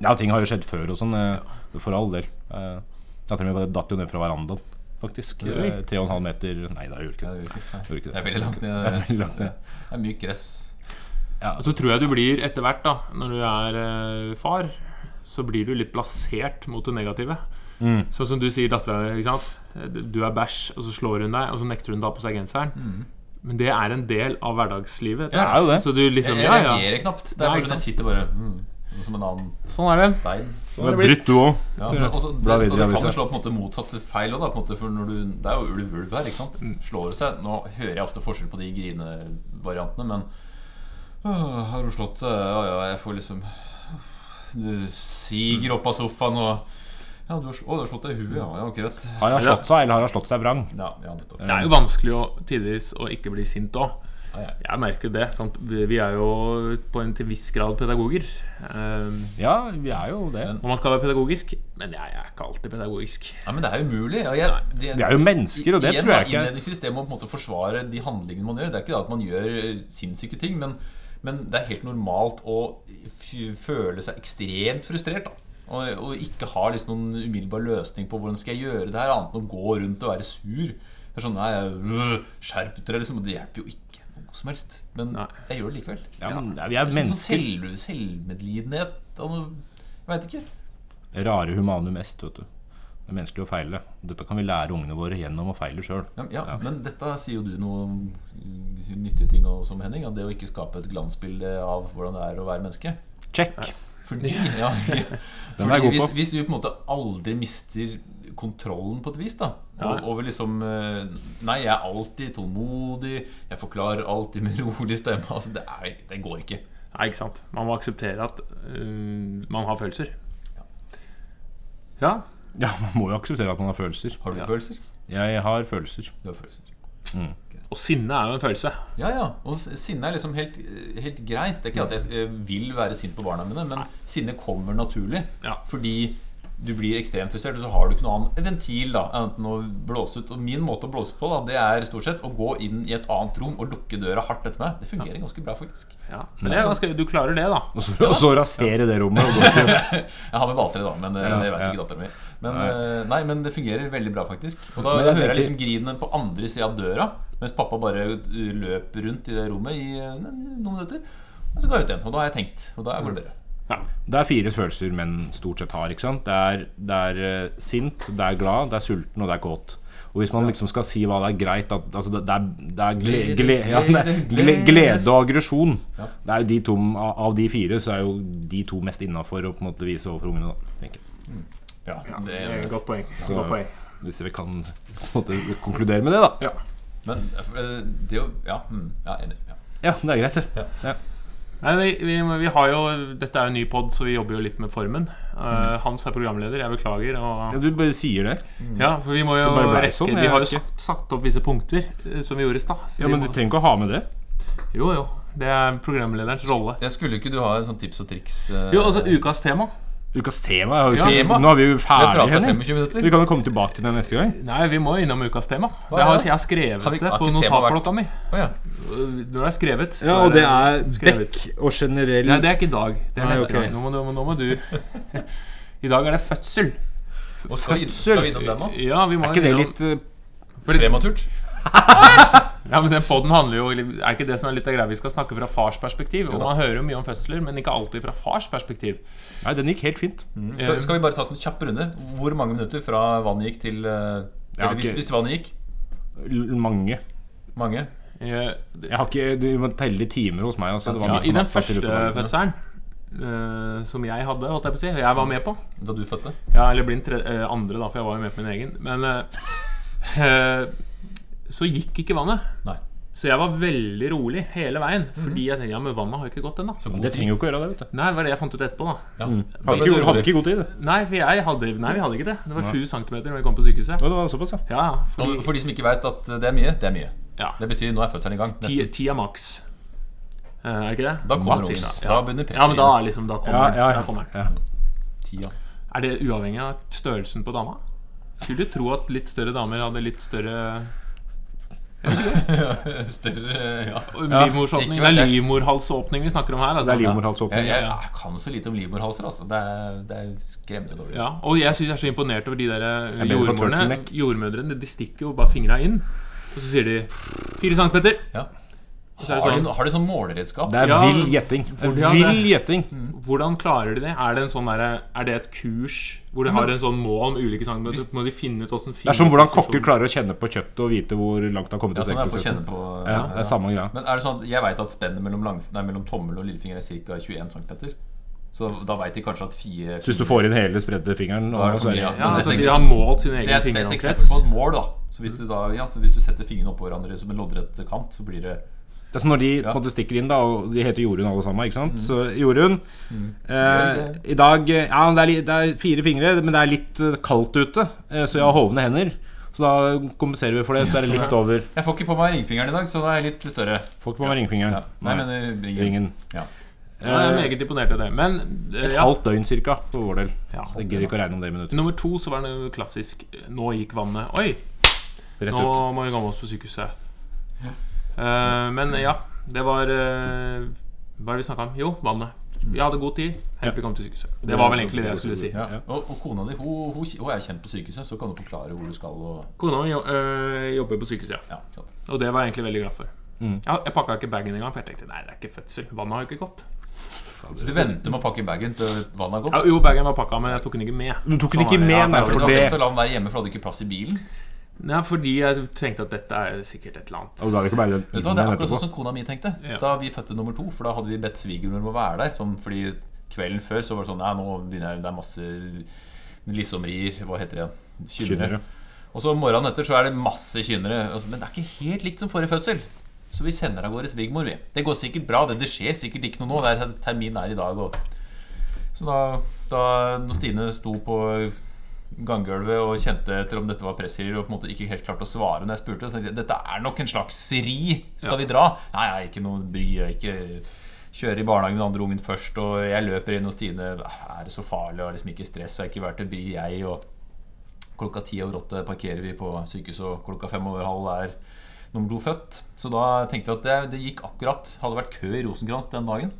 Ja, ting har jo skjedd før og sånn. eh, For all del. Eh, Dattera mi datt jo ned fra verandaen, faktisk.
Oi.
Eh, Tre og en halv meter Nei, da gjorde
Ja,
hun ikke det.
det gjør ikke-
Gjorde ikke
nei. Det er veldig langt ned.
Det er veldig langt ned.
Det er mykt gress.
Og så tror jeg du blir etter hvert, da, når du er eh, far, så blir du litt blasert mot det negative.
Mm.
Sånn som du sier dattera di, ikke sant. Du er bæsj, og så slår hun deg, og så nekter hun å ta på seg genseren. Men det er en del av hverdagslivet. etter
er
Ja, det
jo Mm. det.
hvert. Så du
Jeg
liksom, ja, ja.
reagerer knapt. Det er
Nei,
bare
ikke
sånn jeg
sant.
sitter bare mm, som en annen
Sånn er det.
stein.
Det er brutt, du òg.
Ja, men også, altså, det,
Bla
og det
videre i
kan
avisa.
jo slå på en måte motsatt feil også, da, på en måte, for når du, Det er jo ulv-ulv her, ikke sant? Slår det seg Nå hører jeg ofte forskjell på de grinevariantene, men «Åh, Har hun slått seg? Ja, ja, jeg får liksom Du siger opp av sofaen og Ja, du har, sl- å, du har slått deg i huet, ja. Ja, akkurat.
Har hun slått seg, eller har hun slått seg vrang?
Ja, ja, nettopp.
Det er jo vanskelig å, tidvis å ikke bli sint òg.
Ja, ja.
Jeg merker det. Sant? Vi vi er jo på en til viss grad pedagoger. Eh,
Ja, vi er jo det.
Men-
og man skal være pedagogisk, men jeg er ikke alltid pedagogisk.
Nei, men det er jo umulig. Ja, jeg, det,
Vi er jo mennesker, og det
igjen,
tror jeg
da,
ikke
Innledningsvis, det med å på en måte forsvare de handlingene man gjør. Det er ikke det at man gjør eh, sinnssyke ting, men, men det er helt normalt å f- føle seg ekstremt frustrert. da og, og ikke ha liksom noen umiddelbar løsning på hvordan skal jeg gjøre det her, annet enn å gå rundt og være sur. Det er sånn, nei, jeg- øh, Skjerp dere, liksom. Og det hjelper jo ikke noe som helst. Men
Nei.
jeg gjør det likevel.
ja, men Vi er
Det er sånn, sånn
mennesker.
selv, selvmedlidenhet og noe Jeg veit ikke.
Rare humanum est, vet du. Det er menneskelig å feile. Dette kan vi lære ungene våre gjennom å feile sjøl.
Ja, ja,
Ja.
men dette sier jo du noe om nyttige ting og- som Henning. At det å ikke skape et glansbilde av hvordan det er å være menneske.
Check!
Fordi,
[laughs]
ja,
Den er jeg
fordi
god
hvis,
på.
hvis vi på en måte aldri mister kontrollen på et vis, da og- Over liksom eh, Nei, jeg er alltid tålmodig, jeg forklarer alltid med [laughs] rolig stemme. Altså, det, er, det går ikke.
Nei, ikke sant. Man må akseptere at øh, man har følelser. Ja.
Ja, Man må jo akseptere at man har følelser.
Har du
Ja.
følelser?
Jeg har følelser.
Du har følelser.
Og sinne er jo en følelse.
Ja, ja. Og s- sinne er liksom helt, helt greit. Det er ikke at jeg eh, vil være sint på barna mine, men sinne kommer naturlig.
Ja.
Fordi du blir ekstremt frustrert, og så har du ikke noe annen ventil da, annet enn å blåse ut. Og min måte å blåse ut på, da, det er stort sett å gå inn i et annet rom og lukke døra hardt etter meg. Det fungerer ganske bra, faktisk.
Ja. Men det er ganske, du klarer det, da.
Og så, og så rasere det rommet og gå til
Jeg har med balltre, da, men eh,
Ja,
det vet
ja.
ikke datteren min. Men, eh, nei, men det fungerer veldig bra, faktisk. Og da
Men jeg
hører jeg
tenker-
liksom grinene på andre sida av døra, mens pappa bare eh, løp rundt i det rommet i eh, noen minutter. Og så går jeg ut igjen. Og da har jeg tenkt. Og da
Mm.
går det bedre.
Ja.
Det er fire følelser menn stort sett har. ikke sant? Det er, det er eh, sint, det er glad, det er sulten og det er kåt. Og hvis man liksom skal si hva det er greit at, altså det, det er, det er gle,
Glede,
gle, ja, det er gle,
glede, glede.
glede og aggresjon.
Ja.
Det er jo de to, av av de fire så er jo de to mest innafor å på en måte vise overfor ungene. da, tenker jeg.
Ja, det,
Det er et Eh, Godt poeng.
Så-
Godt poeng.
Hvis vi kan på en måte konkludere med det, da.
Ja.
men eh, det å Ja, mm, ja enig. Ja.
Ja, det er greit, det.
Nei, vi, vi, må- vi har jo, dette er jo en ny pod, så vi jobber jo litt med formen. Eh, Hans er programleder, jeg beklager.
Ja,
Og,
du bare sier det.
ja, for vi må jo
Det bare ble
rekke
sånn,
Vi
jeg
har jo
vet
satt, satt opp visse punkter, eh, som vi gjorde i stad. så
Ja,
vi
Men du
må-
trenger ikke å ha med det.
Jo, jo. Det er programlederens rolle.
Jeg skulle ikke du ha en sånn tips og triks? eh,
Jo, altså ukas tema.
Ukas tema er jo
Ja.
ikke
Tema?
Nå er vi jo
Vi har
ferdige,
pratet i
Henning.
25
Vi kan
minutter.
jo komme tilbake til det neste gang.
Nei, vi må innom ukas tema.
Hva
Det
er
har,
det?
jeg har skrevet
Har vi-
det
har
på
ikke temaet
notatblokka mi.
Å ja.
Når det er skrevet, så
Ja, og det er
skrevet.
bekk og generell
Nei, det er ikke i dag. Det er
Nei,
neste
ok.
gang. Nå må, du- nå må du [laughs] I dag er det fødsel.
Og skal, vi, skal vi innom den nå?
Ja, vi må
Er ikke det
innom-
litt eh,
fordi,
Prematurt?
Ja, men den podden handler jo Er ikke det som er litt av greia? Vi skal snakke fra fars perspektiv. Og man hører jo mye om fødsler, men ikke alltid fra fars perspektiv.
Nei, den gikk helt fint.
Skal, skal vi bare ta en sånn kjapp runde? Hvor mange minutter fra vannet gikk til eh,
Ja,
Eller hvis,
ok.
hvis vannet gikk?
L mange.
Mange?
Eh,
Jeg har ikke, Du må telle i timer hos meg. Altså. Det var
Ja,
midt på
I den
natta til
første
ute på dagen.
fødselen eh, som jeg hadde, holdt jeg på å si, og jeg var med på
Da du fødte?
Ja, eller blind tre eh, andre, da, for jeg var jo med på min egen. Men eh, [laughs] eh, så gikk ikke vannet.
Nei.
Så jeg var veldig rolig hele veien. Fordi jeg tenkte ja, men vannet har jo ikke gått ennå.
Men Det trenger jo ikke å gjøre det. vet du
Nei, det var det jeg fant ut etterpå, da.
Ja.
Hadde
Ble du
ikke, hadde
rolig?
ikke god tid. det.
Nei, for jeg hadde, nei, vi hadde ikke det. Det var 7 cm da vi kom på sykehuset.
Å, det var såpass, ja.
Ja, ja,
Og
fordi
For de som ikke veit at det er mye, det er mye.
ja,
Det betyr nå er fødselen i gang.
ti,
Nesten.
ti er maks. Eh, er det ikke det?
Da kommer
Maks,
ungen.
ja.
Da begynner
Ja, men da
presset.
er liksom Da
Ja,
kommer den.
ja,
Da
ja.
kommer
ja.
den.
Ja,
Er det uavhengig av størrelsen på dama? Skulle du tro at litt større damer hadde litt større
[laughs] Større ja.
livmorsåpning?
ikke
Det
vel,
er
det.
livmorhalsåpning vi snakker om her. Altså.
Det er livmorhalsåpning.
Jeg, jeg, jeg kan så lite om livmorhalser, altså. Det er, det er skremmende dårlig.
Ja, og jeg synes jeg er så imponert over de der eh,
Jeg ble på
jordmorene.
turtleneck.
Jordmødrene de stikker jo bare fingra inn, og så sier de 4 centimeter.
Ja.
Og så er det
Har, de,
sånn
no- har de sånn måleredskap?
Det er
Ja.
vill gjetting.
Ja, det- Mm.
Vill gjetting.
Hvordan klarer de det? Er det, en sånn derre- er det et kurs hvor de har en sånn mål med ulike centimeter? Må de finne ut hvordan
Det er som hvordan kokker klarer å kjenne på kjøttet og vite hvor langt det har kommet.
Ja,
i liksom.
sånn er det på å
stekeprosessen.
kjenne på
Ja, det er samme greia.
Men er det sånn at jeg vet at spennet mellom, lang, nei, mellom tommel og lillefinger er ca. 21 cm. Så da vet de kanskje at fire
Så hvis du får inn hele spredte fingeren
Da er det
og så er
for
det-
mye,
Ja,
Men jeg
altså,
tenker
De har
sånn-
målt sin
Det er,
egen
det er et eksempel
fingeromkrets.
på et mål, da. Så hvis du, da, ja, så hvis du setter fingrene oppå hverandre som en loddrett kant, så blir det
Det er som når de på en måte stikker inn, da, og de heter Jorunn alle sammen. ikke sant? Så Jorunn eh, I dag eh, Ja, det er, li- det er fire fingre, men det er litt eh, kaldt ute, eh, så jeg har hovne hender. Så da kompenserer vi for det, så det er litt over.
Jeg får ikke på meg ringfingeren i dag, så da er jeg litt større.
Får ikke på meg ringfingeren.
Ja. Nei, men eh, ringen.
ringen.
Ja.
Ja, jeg er meget imponert av det. Men eh,
Et
ja.
halvt døgn cirka, for vår del.
Ja.
Jeg gidder ikke å regne om det i minutter.
Nummer to så var det noe klassisk eh, Nå gikk vannet Oi,
Rett
nå
ut.
må vi komme oss på sykehuset Eh, Men ja, det var eh, Hva er det vi snakket om? Jo, vannet Vi hadde god tid, helt til vi kom til sykehuset Det var vel egentlig det jeg skulle si
Ja. Og, og kona di hun, hun, hun er kjent på sykehuset, så kan du forklare hvor du skal og
Kona mi jo- eh, jobber på sykehuset, ja
Ja, ikke sant.
Og det var jeg egentlig veldig glad for
Mm.
ja, Jeg pakket ikke baggen engang, for jeg tenkte Nei, det er ikke fødsel, vannet har jo ikke gått
Så du venter med å pakke bagen til vannet har gått?
ja, Jo, baggen var pakket, men jeg tok den ikke med
Du tok den
Sånn
ikke
er det.
med,
Ja,
nei,
for
Det
for
var
det
best å la den være hjemme, for du hadde ikke plass i bilen.
Nei, fordi jeg tenkte at dette er sikkert et eller annet
Og da er det ikke bare den
Vet du, hva,
inn
det er
igjen
akkurat
etterpå.
sånn som kona mi tenkte.
Ja.
Da vi fødte nummer to, for da hadde vi bedt svigermor om å være der. Sånn, fordi kvelden før så var det sånn Nei, nå begynner jeg, det er masse lissomrier. Hva heter det igjen?
Kynnere.
Kynnere. Og så morgenen etter så er det masse kynnere. Og så- Men det er ikke helt likt som forrige fødsel. Så vi sender av gårde svigermor, vi. Det går sikkert bra. Det, det skjer sikkert ikke noe nå. Det er termin er i dag. Og. Så da, da når Stine sto på ganggulvet og kjente etter om dette var pressgirier og på en måte ikke helt klarte å svare når jeg spurte, så tenkte jeg dette er nok en slags ri. Skal vi dra? Nei, nei, ikke noe bry. Jeg ikke kjører i barnehagen med den andre ungen først, og jeg løper inn hos Stine. Er det så farlig? Og liksom ikke stress, og jeg er ikke verdt å bry, jeg. og Klokka ti over åtte parkerer vi på sykehuset, og klokka fem over halv er nummer to født. Så da tenkte jeg at det, det gikk akkurat. Hadde vært kø i Rosenkrantz den dagen.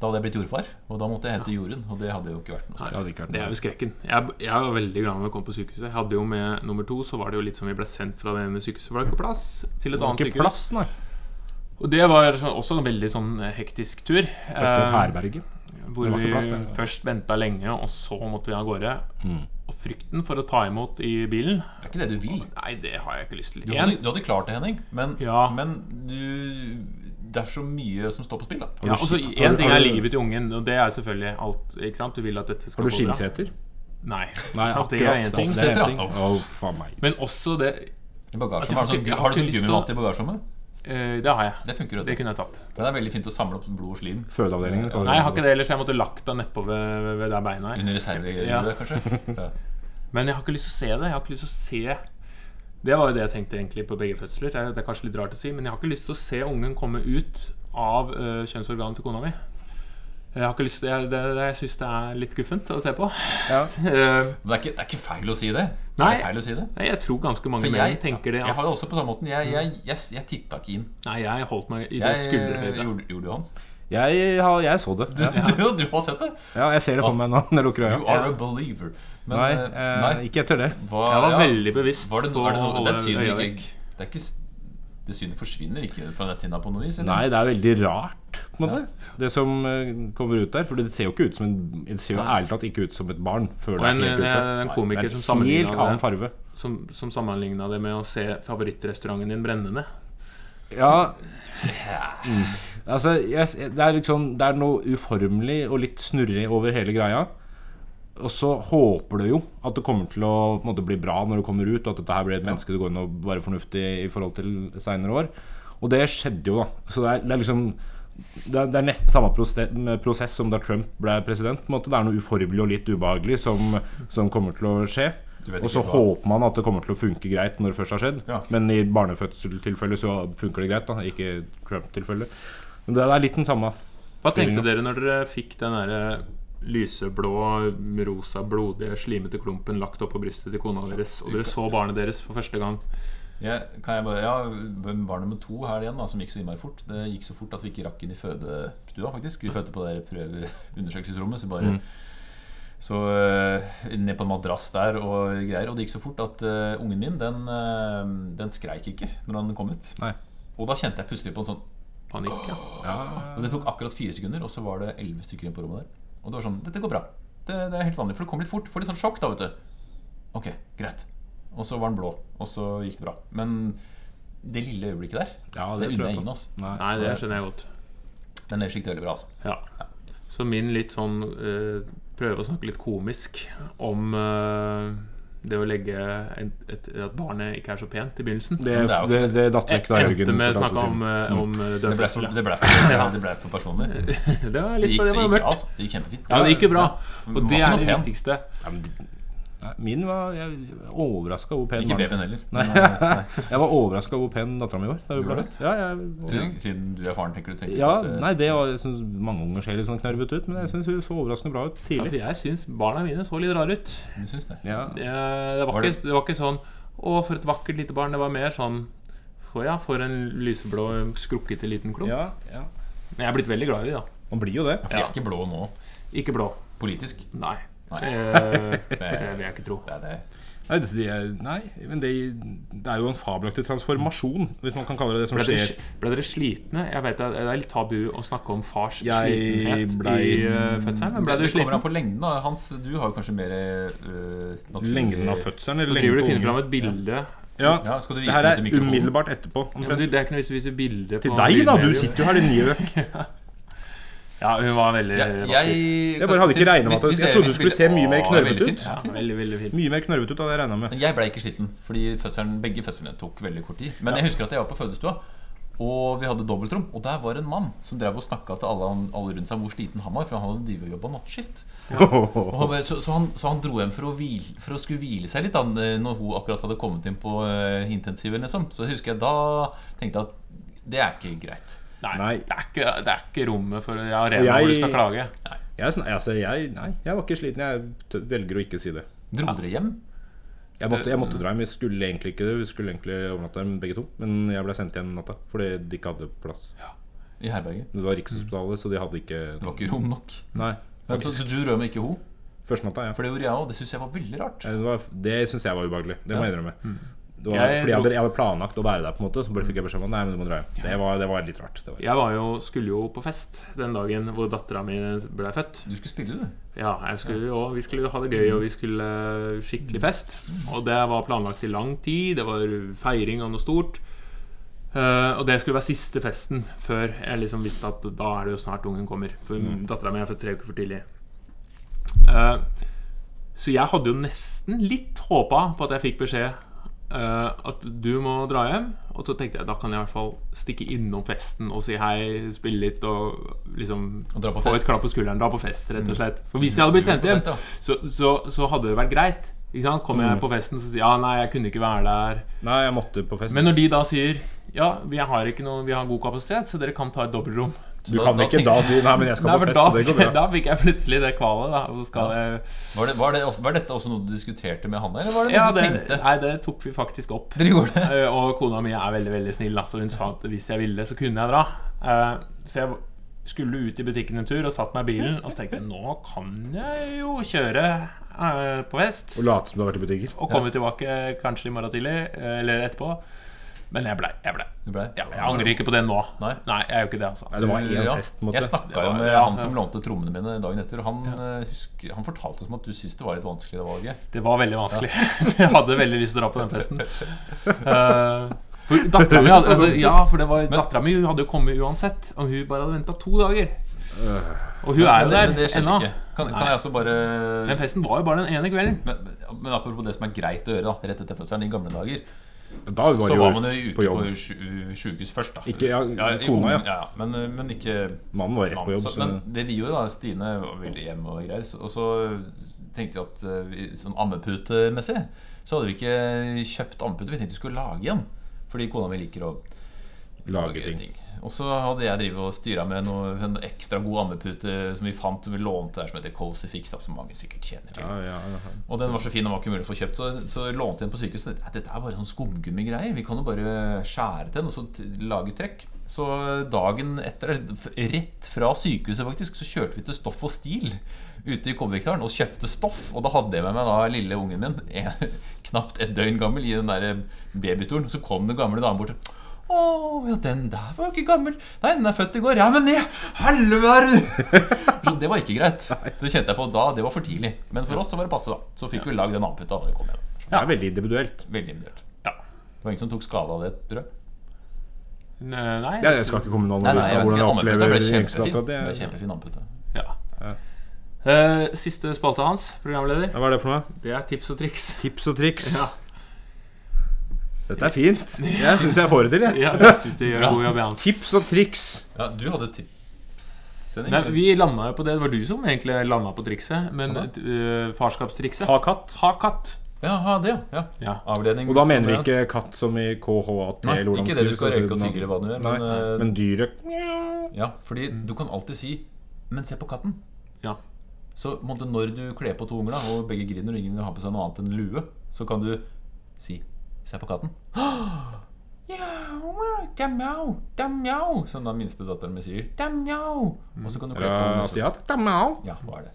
Da hadde jeg blitt jordfar, og da måtte jeg hente Jorunn. Og det hadde jo ikke vært noe
Det hadde ikke vært
Det
noe.
er jo skrekken. Jeg, jeg var veldig glad når jeg kom på sykehuset. Jeg hadde jo med nummer to, så var det jo litt som vi ble sendt fra det ene sykehuset, for det var ikke plass, til et
Det var
annet
ikke
sykehus.
plass, nei.
Og det var sånn, også en veldig sånn eh, hektisk tur.
Dette er et
Eh,
herberge.
hvor
det var
vi
ikke plass Mm. der.
først venta lenge, og så måtte vi av gårde. Og frykten for å ta imot i bilen
Det er ikke det du vil.
Nei, det har jeg ikke lyst til.
Du
Igjen.
hadde, du hadde klart det, Henning, men,
Ja.
men du, det er så mye som står på spill. da
Ja, og så
har
Én
du-
ting
har
er
du-
livet til ungen, og det er selvfølgelig alt. Ikke sant? Du vil at dette skal
Har du
gå bra.
skinnseter?
Nei.
Nei,
Sant, [laughs] det er
akkurat.
en ting.
Det er en
Seter,
ting.
ja.
Å, faen meg.
Men også det
I bagasjen,
Altså,
Har du sånn,
jeg har ikke-
har du
jeg har
sånn
ikke lyst
gummimatte i bagasjerommet?
eh, Det har jeg.
Det funker jo.
Det
vet du.
kunne jeg tatt.
For Det er veldig fint å samle opp blod og slim
Fødeavdelingen. kaller
Nei, jeg har ikke det ellers. Jeg måtte lagt den nedpå ved, ved- ved der beina er.
under reservehjulet,
Ja.
kanskje. Ja.
Men jeg har ikke lyst til å se det. Jeg har ikke lyst til å se Det var jo det jeg tenkte egentlig på begge fødsler. Det er, det er kanskje litt rart å si, men jeg har ikke lyst til å se ungen komme ut av øh, kjønnsorganet til kona mi. Jeg har ikke lyst til, jeg, det, det, jeg syns det er litt guffent å se på.
Ja.
Eh,
Men det er, ikke, det er ikke feil å si det.
Nei.
Det er feil å si det.
[laughs] nei, jeg tror ganske mange
For
menn
jeg,
tenker det.
jeg
At,
har det også på samme måten. Jeg, jeg, jeg, jeg titta ikke inn.
Nei, jeg holdt meg i det
Jeg,
skulderhøyde.
gjorde, gjorde du Hans?
Jeg, har, jeg så det. Ja.
[laughs] Du, du har sett det?
ja, jeg ser det for meg nå [laughs] når jeg lukker
You
øya.
are a believer. Men,
Nei,
eh,
eh,
nei,
ikke etter det.
hva-
Jeg var
ja,
veldig bevisst
var det,
på
var det,
å
noe-
holde
Den synet
øya
gikk
vekk.
Det er ikke s- Det synet forsvinner ikke fra netthinna på noe vis? eller?
Nei, det er veldig rart, på en måte. Det som eh, kommer ut der. For det ser jo ikke ut som en, det ser jo ærlig talt ikke ut som et barn. Før
Og en,
det er helt
en,
ute.
en
Det er
komiker som
en helt
sammenligna
annen
det,
farve.
som, som sammenlignet det med å se favorittrestauranten din brenne ned.
Ja mm. Altså, jeg, s- det er liksom Det er noe uformelig og litt snurrig over hele greia. Og så håper du jo at det kommer til å på en måte, bli bra når du kommer ut, og at dette her blir et menneske du går inn og bare er fornuftig i forhold til seinere år. Og det skjedde jo, da. Så det er, det er liksom det er, det er nesten samme proste- prosess som da Trump ble president. På en måte. Det er noe uformelig og litt ubehagelig som, som kommer til å skje.
Du vet
Og så
ikke hva-
håper man at det kommer til å funke greit når det først har skjedd.
Ja.
Men i barnefødselstilfellet så funker det greit, da. Ikke Trump-tilfellet. Men det er litt den samme.
Hva tenkte
Spillingen.
dere når dere fikk den derre lyseblå, rosa, blodige, slimete klumpen lagt opp på brystet til kona deres, og dere så barnet deres for første gang?
Jeg, kan jeg bare, ja, Barn nummer to her igjen, da, som gikk så innmari fort. Det gikk så fort at vi ikke rakk inn i fødestua, faktisk. Vi fødte på det der prøve undersøkelsesrommet. Så bare Så eh, ned på en madrass der og greier. Og det gikk så fort at eh, ungen min, den, eh, den skreik ikke når han kom ut.
Nei.
Og da kjente jeg plutselig på en sånn
Panikk, ja.
Og det tok akkurat fire sekunder, og så var det elleve stykker inn på rommet der. Og det var sånn Dette går bra. Det, det er helt vanlig. For det kom litt fort. Får litt sånn sjokk, da, vet du. Ok, greit. Og så var den blå. Og så gikk det bra. Men det lille øyeblikket der,
Ja, det tror
det, unner
jeg
jeg
på.
ingen, altså.
Nei.
Nei, det skjønner jeg godt.
Men ellers gikk det veldig bra, altså.
Ja. Så min litt sånn eh, Prøve å snakke litt komisk om eh, det å legge en, et, at barnet ikke er så pent i begynnelsen.
Det,
Men det er jo
det,
ikke-
det datt vekk da, Jørgen.
Endte med å
fortalte
snakke om,
siden.
eh, om eh,
Det ble
dødfødsel.
for,
ja.
det ble for,
Ja.
det ble for personlig.
[laughs] Det var
Det
litt
gikk,
av
det
det
gikk
var
bra,
mørkt.
altså. Det gikk kjempefint.
Ja, det gikk jo bra.
Ja.
Og
Den
det
var
er
ikke
det
noe pen.
viktigste.
Nei, men d- Nei, min var Jeg var overraska hvor pen
Ikke
barnet- [laughs]
babyen heller. eh,
Nei. [laughs] Jeg var overraska hvor pen dattera mi var da hun
Du var
ble
det?
født. Ja, jeg,
Du- Siden du er faren, tenker du tenker
ja,
at, eh,
nei, det var, jeg synes Mange unger ser litt sånn knørvet ut, men jeg syns hun så overraskende bra ut
Ja, for
tidlig.
jeg syns barna mine så litt rare ut.
Du syns det?
Ja,
Det, det,
Var
var
det-
ikke, det var ikke sånn Å, for et vakkert lite barn. Det var mer sånn For, ja, for en lyseblå, skrukkete liten klump.
ja, ja.
Men jeg er blitt veldig glad i det, da.
Man blir jo det.
Ja, For de er ikke blå nå,
Ikke blå.
politisk.
Nei.
Nei.
[laughs]
Eh, Det vil jeg ikke tro.
Det er det.
Nei, det, det er, nei men det, det er jo en fabelaktig transformasjon, hvis man kan kalle det det som
Ble dere,
skjer.
ble dere slitne? Jeg vet Det det er litt tabu å snakke om fars
Jeg
slitenhet
ble-
i eh, fødselen. Men ble
det
du
kommer
sliten?
an på lengden. da Hans, du har jo kanskje mer øh, naturlig-
Lengden av fødselen eller
Jeg Driver du
lengden på ungen?
finner fram et bilde?
Ja,
Ja, skal du
det
vise
her
den
er
til mikrofonen?
umiddelbart etterpå.
Ja, men
Omtrent.
du, det er ikke noe vits i å vise bilde
Til
på
deg, da. Du
bilmedium.
sitter jo her, din gjøk.
Ja, hun var veldig
Ja,
vakker.
jeg,
Jeg bare hadde ikke regnet med at-
Hvis- hvis
jeg
dere-
trodde du
hvis
skulle se
dere-
mye mer
Å,
knørvet
veldig
ut.
fint.
Ja, veldig, veldig fin.
Mye mer knørvet ut av det jeg regna med.
Men Jeg ble ikke sliten, fordi fødselen, begge fødslene tok veldig kort tid. Men jeg husker at jeg var på fødestua, og vi hadde dobbeltrom. Og der var en mann som drev og snakka til alle, han- alle rundt seg hvor sliten han var, for han hadde drevet og jobba nattskift. Og han, bare- så, så, han, så han dro hjem for å, hvile, for å skulle hvile seg litt da når hun akkurat hadde kommet inn på eh, intensiven. Liksom. Så husker jeg da tenkte jeg at det er ikke greit.
Nei,
Nei.
Det, er ikke, det er ikke rommet for ja, arena
Og jeg-
hvor du skal klage.
Jeg, er sånn- altså, jeg, nei, jeg var ikke sliten. Jeg t- velger å ikke si det.
Dro dere hjem?
Jeg måtte, jeg måtte dra hjem. Vi skulle egentlig ikke det. Vi skulle egentlig overnatte her, begge to. Men jeg ble sendt hjem natta fordi de ikke hadde plass.
I herberget?
Det var Rikshospitalet, så de hadde ikke
Det var ikke rom nok.
Nei.
Men så, så du rød med ikke ho?
Første natta, ja.
For det gjorde jeg òg. Det syns jeg var veldig rart.
Ja, Eh, Det, var- det syns jeg var ubehagelig. Det må jeg innrømme.
Mm.
Det var,
Jeg
fordi jeg
dro-
hadde, jeg hadde planlagt å være der, på en måte så bare fikk jeg beskjed om at nei, men du må dra hjem. Det var, det var litt rart. Det var.
Jeg var jo, skulle jo på fest den dagen hvor dattera mi ble født.
Du skulle spille, du.
Ja, jeg skulle, jo- Vi skulle ha det gøy, og vi skulle eh, skikkelig fest. Og det var planlagt i lang tid. Det var feiring av noe stort. Eh, og det skulle være siste festen før jeg liksom visste at da er det jo snart ungen kommer. For
Mm.
dattera mi er født tre uker for tidlig. Eh, så jeg hadde jo nesten litt håpa på at jeg fikk beskjed eh, at du må dra hjem. Og så tenkte jeg da kan jeg i hvert fall stikke innom festen og si hei, spille litt og liksom
Og dra på
få
fest.
et klapp på skulderen. Dra på fest, rett og slett. For hvis jeg hadde blitt sendt
Du var på
hjem,
fest, Mm.
så, så, så hadde det vært greit. Ikke sant? Kom jeg på festen så sier jeg, ja, nei, jeg kunne ikke være der.
Nei, jeg måtte på fest.
Men når de da sier ja, vi har, ikke noe, vi har god kapasitet, så dere kan ta et dobbeltrom.
du
da-
kan
da
ikke
tenker-
da si nei, men jeg
[laughs]
skal
Nei,
på
for
fest,
da,
så det går
fikk jeg-
bra.
[laughs] da fikk jeg plutselig det kvalet. Da, og så skal jeg,
Var, det, var, det også, var dette også noe du diskuterte med han, eller var det noe
ja,
du
det,
tenkte?
nei, det tok vi faktisk opp.
Dere gjorde det?
Eh, Og kona mi er veldig veldig snill, da, så hun sa at hvis jeg ville, så kunne jeg dra. Eh, Så jeg skulle ut i butikken en tur og satt meg i bilen og så tenkte jeg, nå kan jeg jo kjøre eh, på fest.
Og late som du har vært i butikker.
Og komme tilbake kanskje i morgen tidlig, eh, eller etterpå. Men jeg blei. Jeg blei.
Du ble?
Ja, jeg angrer ikke på det nå.
Nei.
jeg gjør ikke det, altså.
Det var én
Ja,
fest, på en måte.
Jeg snakka
Det var-
jo med
ja.
han som lånte trommene mine dagen etter. Og han, eh, husker, han fortalte oss om at du syntes det var litt vanskelig det valget.
Det var veldig vanskelig. [laughs] jeg hadde veldig lyst til å dra på den festen. Eh, for dattera mi hadde, altså, ja, for det var dattera mi hun hadde jo kommet uansett, og hun bare hadde venta to dager. Og
Men
hun er jo
det,
der
det skjedde
ennå.
ikke. Kan, kan
Nei.
jeg også bare
Den festen var jo bare den ene kvelden.
men, men apropos det som er greit å gjøre da, rett etter fødselen i gamle dager,
Da var,
så
jo
var man jo ute
på jobb.
på sju- sjukehus først, da.
Ikke, ja,
i
kona,
ungen-
ja.
ja, ja. Men, men ikke
Mannen var rett på
mannen.
jobb.
Så,
Så,
men det vi gjorde, da Stine ville hjem og greier, så, og så tenkte vi at eh, vi, sånn ammeputemessig så hadde vi ikke kjøpt ammepute. Vi tenkte vi skulle lage en, fordi kona mi liker å
lage
lage
ting.
ting. Og så hadde jeg drivet og styra med noe, en ekstra god ammepute som vi fant, som vi lånte der, som heter Cozy Fix, da, som mange sikkert kjenner til.
Ja, ja, ja.
Og den var så fin, den var ikke mulig å få kjøpt, så, så lånte jeg den på sykehuset. Nei, Dette er bare sånn skumgummigreier. Vi kan jo bare skjære til den og så t- lage trekk. Så dagen etter, eller f- rett fra sykehuset faktisk, så kjørte vi til Stoff og Stil ute i Kobbervikdalen og kjøpte stoff. Og da hadde jeg med meg da lille ungen min, en, [laughs] knapt et døgn gammel, i den der babystolen. Så kom den gamle damen bort. Å, ja, den der var jo ikke gammel. Nei, den er født i går. Ja, men det Helvete! Så det var ikke
[laughs]
greit. Det kjente jeg på da. Det var for tidlig. Men for oss så var det passe, da. Så fikk vi lagd den andputa da vi kom hjem.
Det er veldig individuelt.
Veldig individuelt.
Ja.
Det var ingen som tok skade av det, tror jeg.
øh, Nei.
Ja, jeg skal ikke komme med noen
Nei, nei,
analyse
jeg
av
vet
hvordan
ikke.
jeg opplever
Andputa
yngste
ble kjempefin.
datter.
Det ble
Det,
kjempefin andputa.
Ja. Eh, siste spalte hans, programleder,
Ja, hva er det for noe?
det er tips og triks.
Tips og triks.
[laughs] Ja,
Dette er fint. Jeg syns jeg får det
[laughs]
til, jeg.
ja jeg syns du gjør en god jobb. Jan.
Tips og triks.
Ja, du hadde
Nei,
tipssending.
vi landa jo på det. Det var du som egentlig landa på trikset. Men eh, farskapstrikset
Ha katt.
Ha katt.
Ja, ha det, ja. ja.
Ja.
Avledning.
Og da mener vi ikke katt som i KHAT
Nei,
eller hvordan
ikke det du
skrives,
skal
altså,
røyke og
man-
tygge eller hva du gjør,
Nei,
men, eh,
men dyret
Ja, fordi du kan alltid si 'men se på katten'.
Mm. Ja.
Så på en måte, når du kler på to unger, da, og begge griner, og ingen har på seg noe annet enn lue, så kan du si 'se på katten'. [gasps] Mjau, det er mjau, det er mjau, som den minste datteren min sier. Det er mjau. Og så kan du kle på
fra
og så-
Asiat Damao.
Ja, hva er det?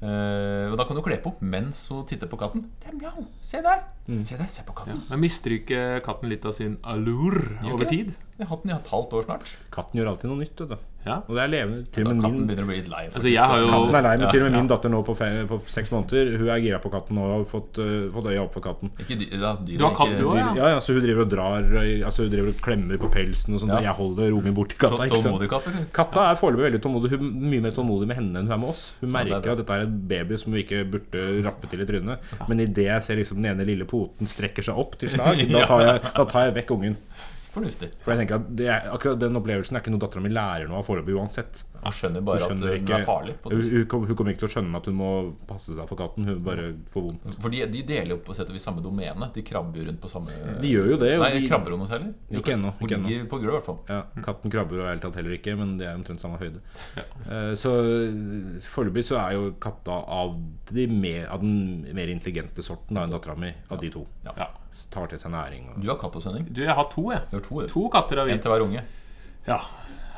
Eh, og da kan du kle på mens hun titter på katten. Det er mjau, se der!
Mm.
Se der, se på katten.
Men mister ikke katten litt av sin allure
Gjør
over
ikke det?
tid?
Jeg har hatt den i et halvt år snart.
Katten gjør alltid noe nytt, vet du.
Ja.
Og det er levende. Til og med
Katten
min
begynner å bli litt lei.
Altså, jeg har jo
Katten er lei, men til og med min datter nå på, fe på seks måneder Hun er gira på katten og har fått, øh, fått øya opp for katten.
Ikke dy- ja, dyr,
Du har katt, du òg? Ja.
Ja, ja, så Hun driver og drar øh, Altså hun driver og klemmer på pelsen og sånn.
Ja.
og Jeg holder ungen bort til katta. ikke sant?
Tålmodig katt, eller?
Katta er foreløpig veldig tålmodig. Hun er mye mer tålmodig med henne enn hun er med oss. Hun merker
det er bra.
at dette er en baby som hun ikke burde rappe til i trynet. Men idet jeg ser liksom den ene lille poten strekker seg opp til
[laughs]
slag, da tar jeg, da tar jeg vekk ungen.
Fornuftig.
For jeg tenker at det er, akkurat Den opplevelsen er ikke noe dattera mi lærer noe av foreløpig uansett.
Hun skjønner
Hun
bare at
skjønner
hun
ikke
er farlig. På
hun,
et vis.
hun, kom- hun kommer ikke til å skjønne at hun må passe seg for katten. Hun bare får vondt.
Fordi De deler jo på sett og vis samme domene. De krabber jo rundt på samme
De gjør jo det. Og
Nei,
de,
krabber hun noe særlig?
Ikke ennå,
Hun
ikke ennå.
ligger på gulvet, i hvert fall.
Ja,
Mm.
katten krabber og er helt tatt heller ikke, men de er omtrent samme høyde. Eh, Så eh, foreløpig så er jo katta av, de mer, av den mer intelligente sorten da, enn dattera mi, av de to.
Ja.
Ja.
Tar til seg næring og
Du har katt og sending.
Du, jeg har to, jeg.
Du har to, du.
To katter har vi.
En til hver unge.
Ja.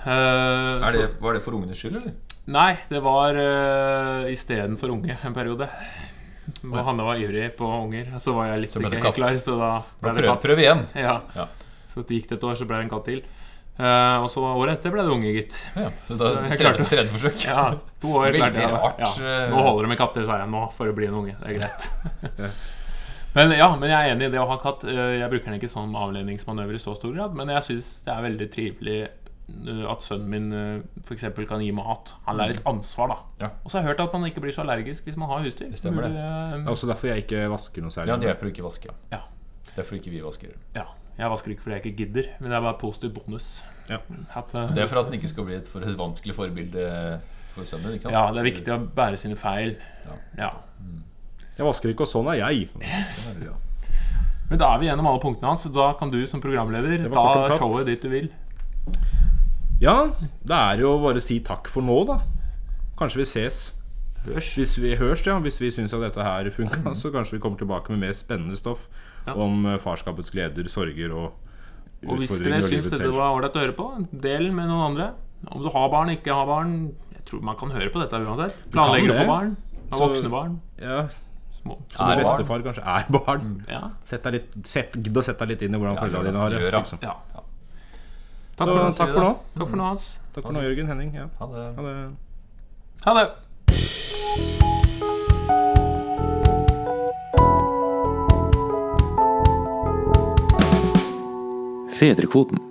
Eh,
Er det, var det for ungenes skyld, eller?
så, nei, det var uh, istedenfor unge en periode. Og Hanne var ivrig på unger, så var jeg litt
ble
ikke
det
helt
katt.
klar. Så da ble det
Prøv,
katt.
prøv igjen.
Ja.
Ja.
Så det gikk det et år, så ble det en katt til. Eh, og så året etter ble det unge, gitt.
Ja, så da,
Så jeg
tredje,
klarte-
tredje forsøk.
Ja, to år
Veldig
klarte jeg det.
rart,
Ja.
eh.
Nå holder det med katter, sa jeg. Nå får det bli en unge. Det er greit.
[laughs]
Men ja, men jeg er enig i det å ha katt. Eh, Jeg bruker den ikke som avledningsmanøver i så stor grad, men jeg syns det er veldig trivelig eh, at sønnen min f.eks. kan gi mat. Han lærer et ansvar, da.
Mm. Ja.
Og så har jeg hørt at man ikke blir så allergisk hvis man har husdyr. eh,
Det stemmer det.
Det er også derfor jeg ikke vasker noe særlig.
Ja, det hjelper å ikke vaske. Ja.
Ja.
Derfor ikke vi vasker.
ja. Jeg vasker ikke fordi jeg ikke gidder, men det er bare positiv bonus.
Ja.
At, eh,
Det er for at den ikke skal bli et for et vanskelig forbilde for sønnen. ikke sant?
ja, det er viktig å bære sine feil.
Ja.
Ja.
Jeg vasker ikke, og sånn er jeg.
Ja.
Men da er vi gjennom alle punktene hans, så da kan du som
var
programleder
kort om
ta
katt.
showet dit du vil.
Ja, det er jo bare å si takk for nå, da. Kanskje vi ses.
Børs.
Hvis vi høres, ja. Hvis vi syns at dette her funka, så kanskje vi kommer tilbake med mer spennende stoff
Mm. Ja.
om eh, farskapets gleder, sorger og
Og hvis
utfordringer
dere
og
syns
livet
dette
selv.
var ålreit å høre på, del med noen andre. Om du har barn, ikke har barn Jeg tror man kan høre på dette uansett. Planlegger du
det.
for barn? Har
Så-
voksne barn?
Ja,
små.
Så
Er
når
barn.
bestefar kanskje er [laughs] barn.
Ja.
Sett deg litt, sett, gidd å sette deg litt inn i hvordan
Ja,
følgene
gjør
dine har det.
det. altså. Gjør det.
Liksom.
ja.
Så
Takk for nå.
takk for nå.
Takk for nå, Hans.
Takk for nå, Jørgen Henning. Ja.
Ha det.
Ha det.
Ha det.
Fedrekvoten.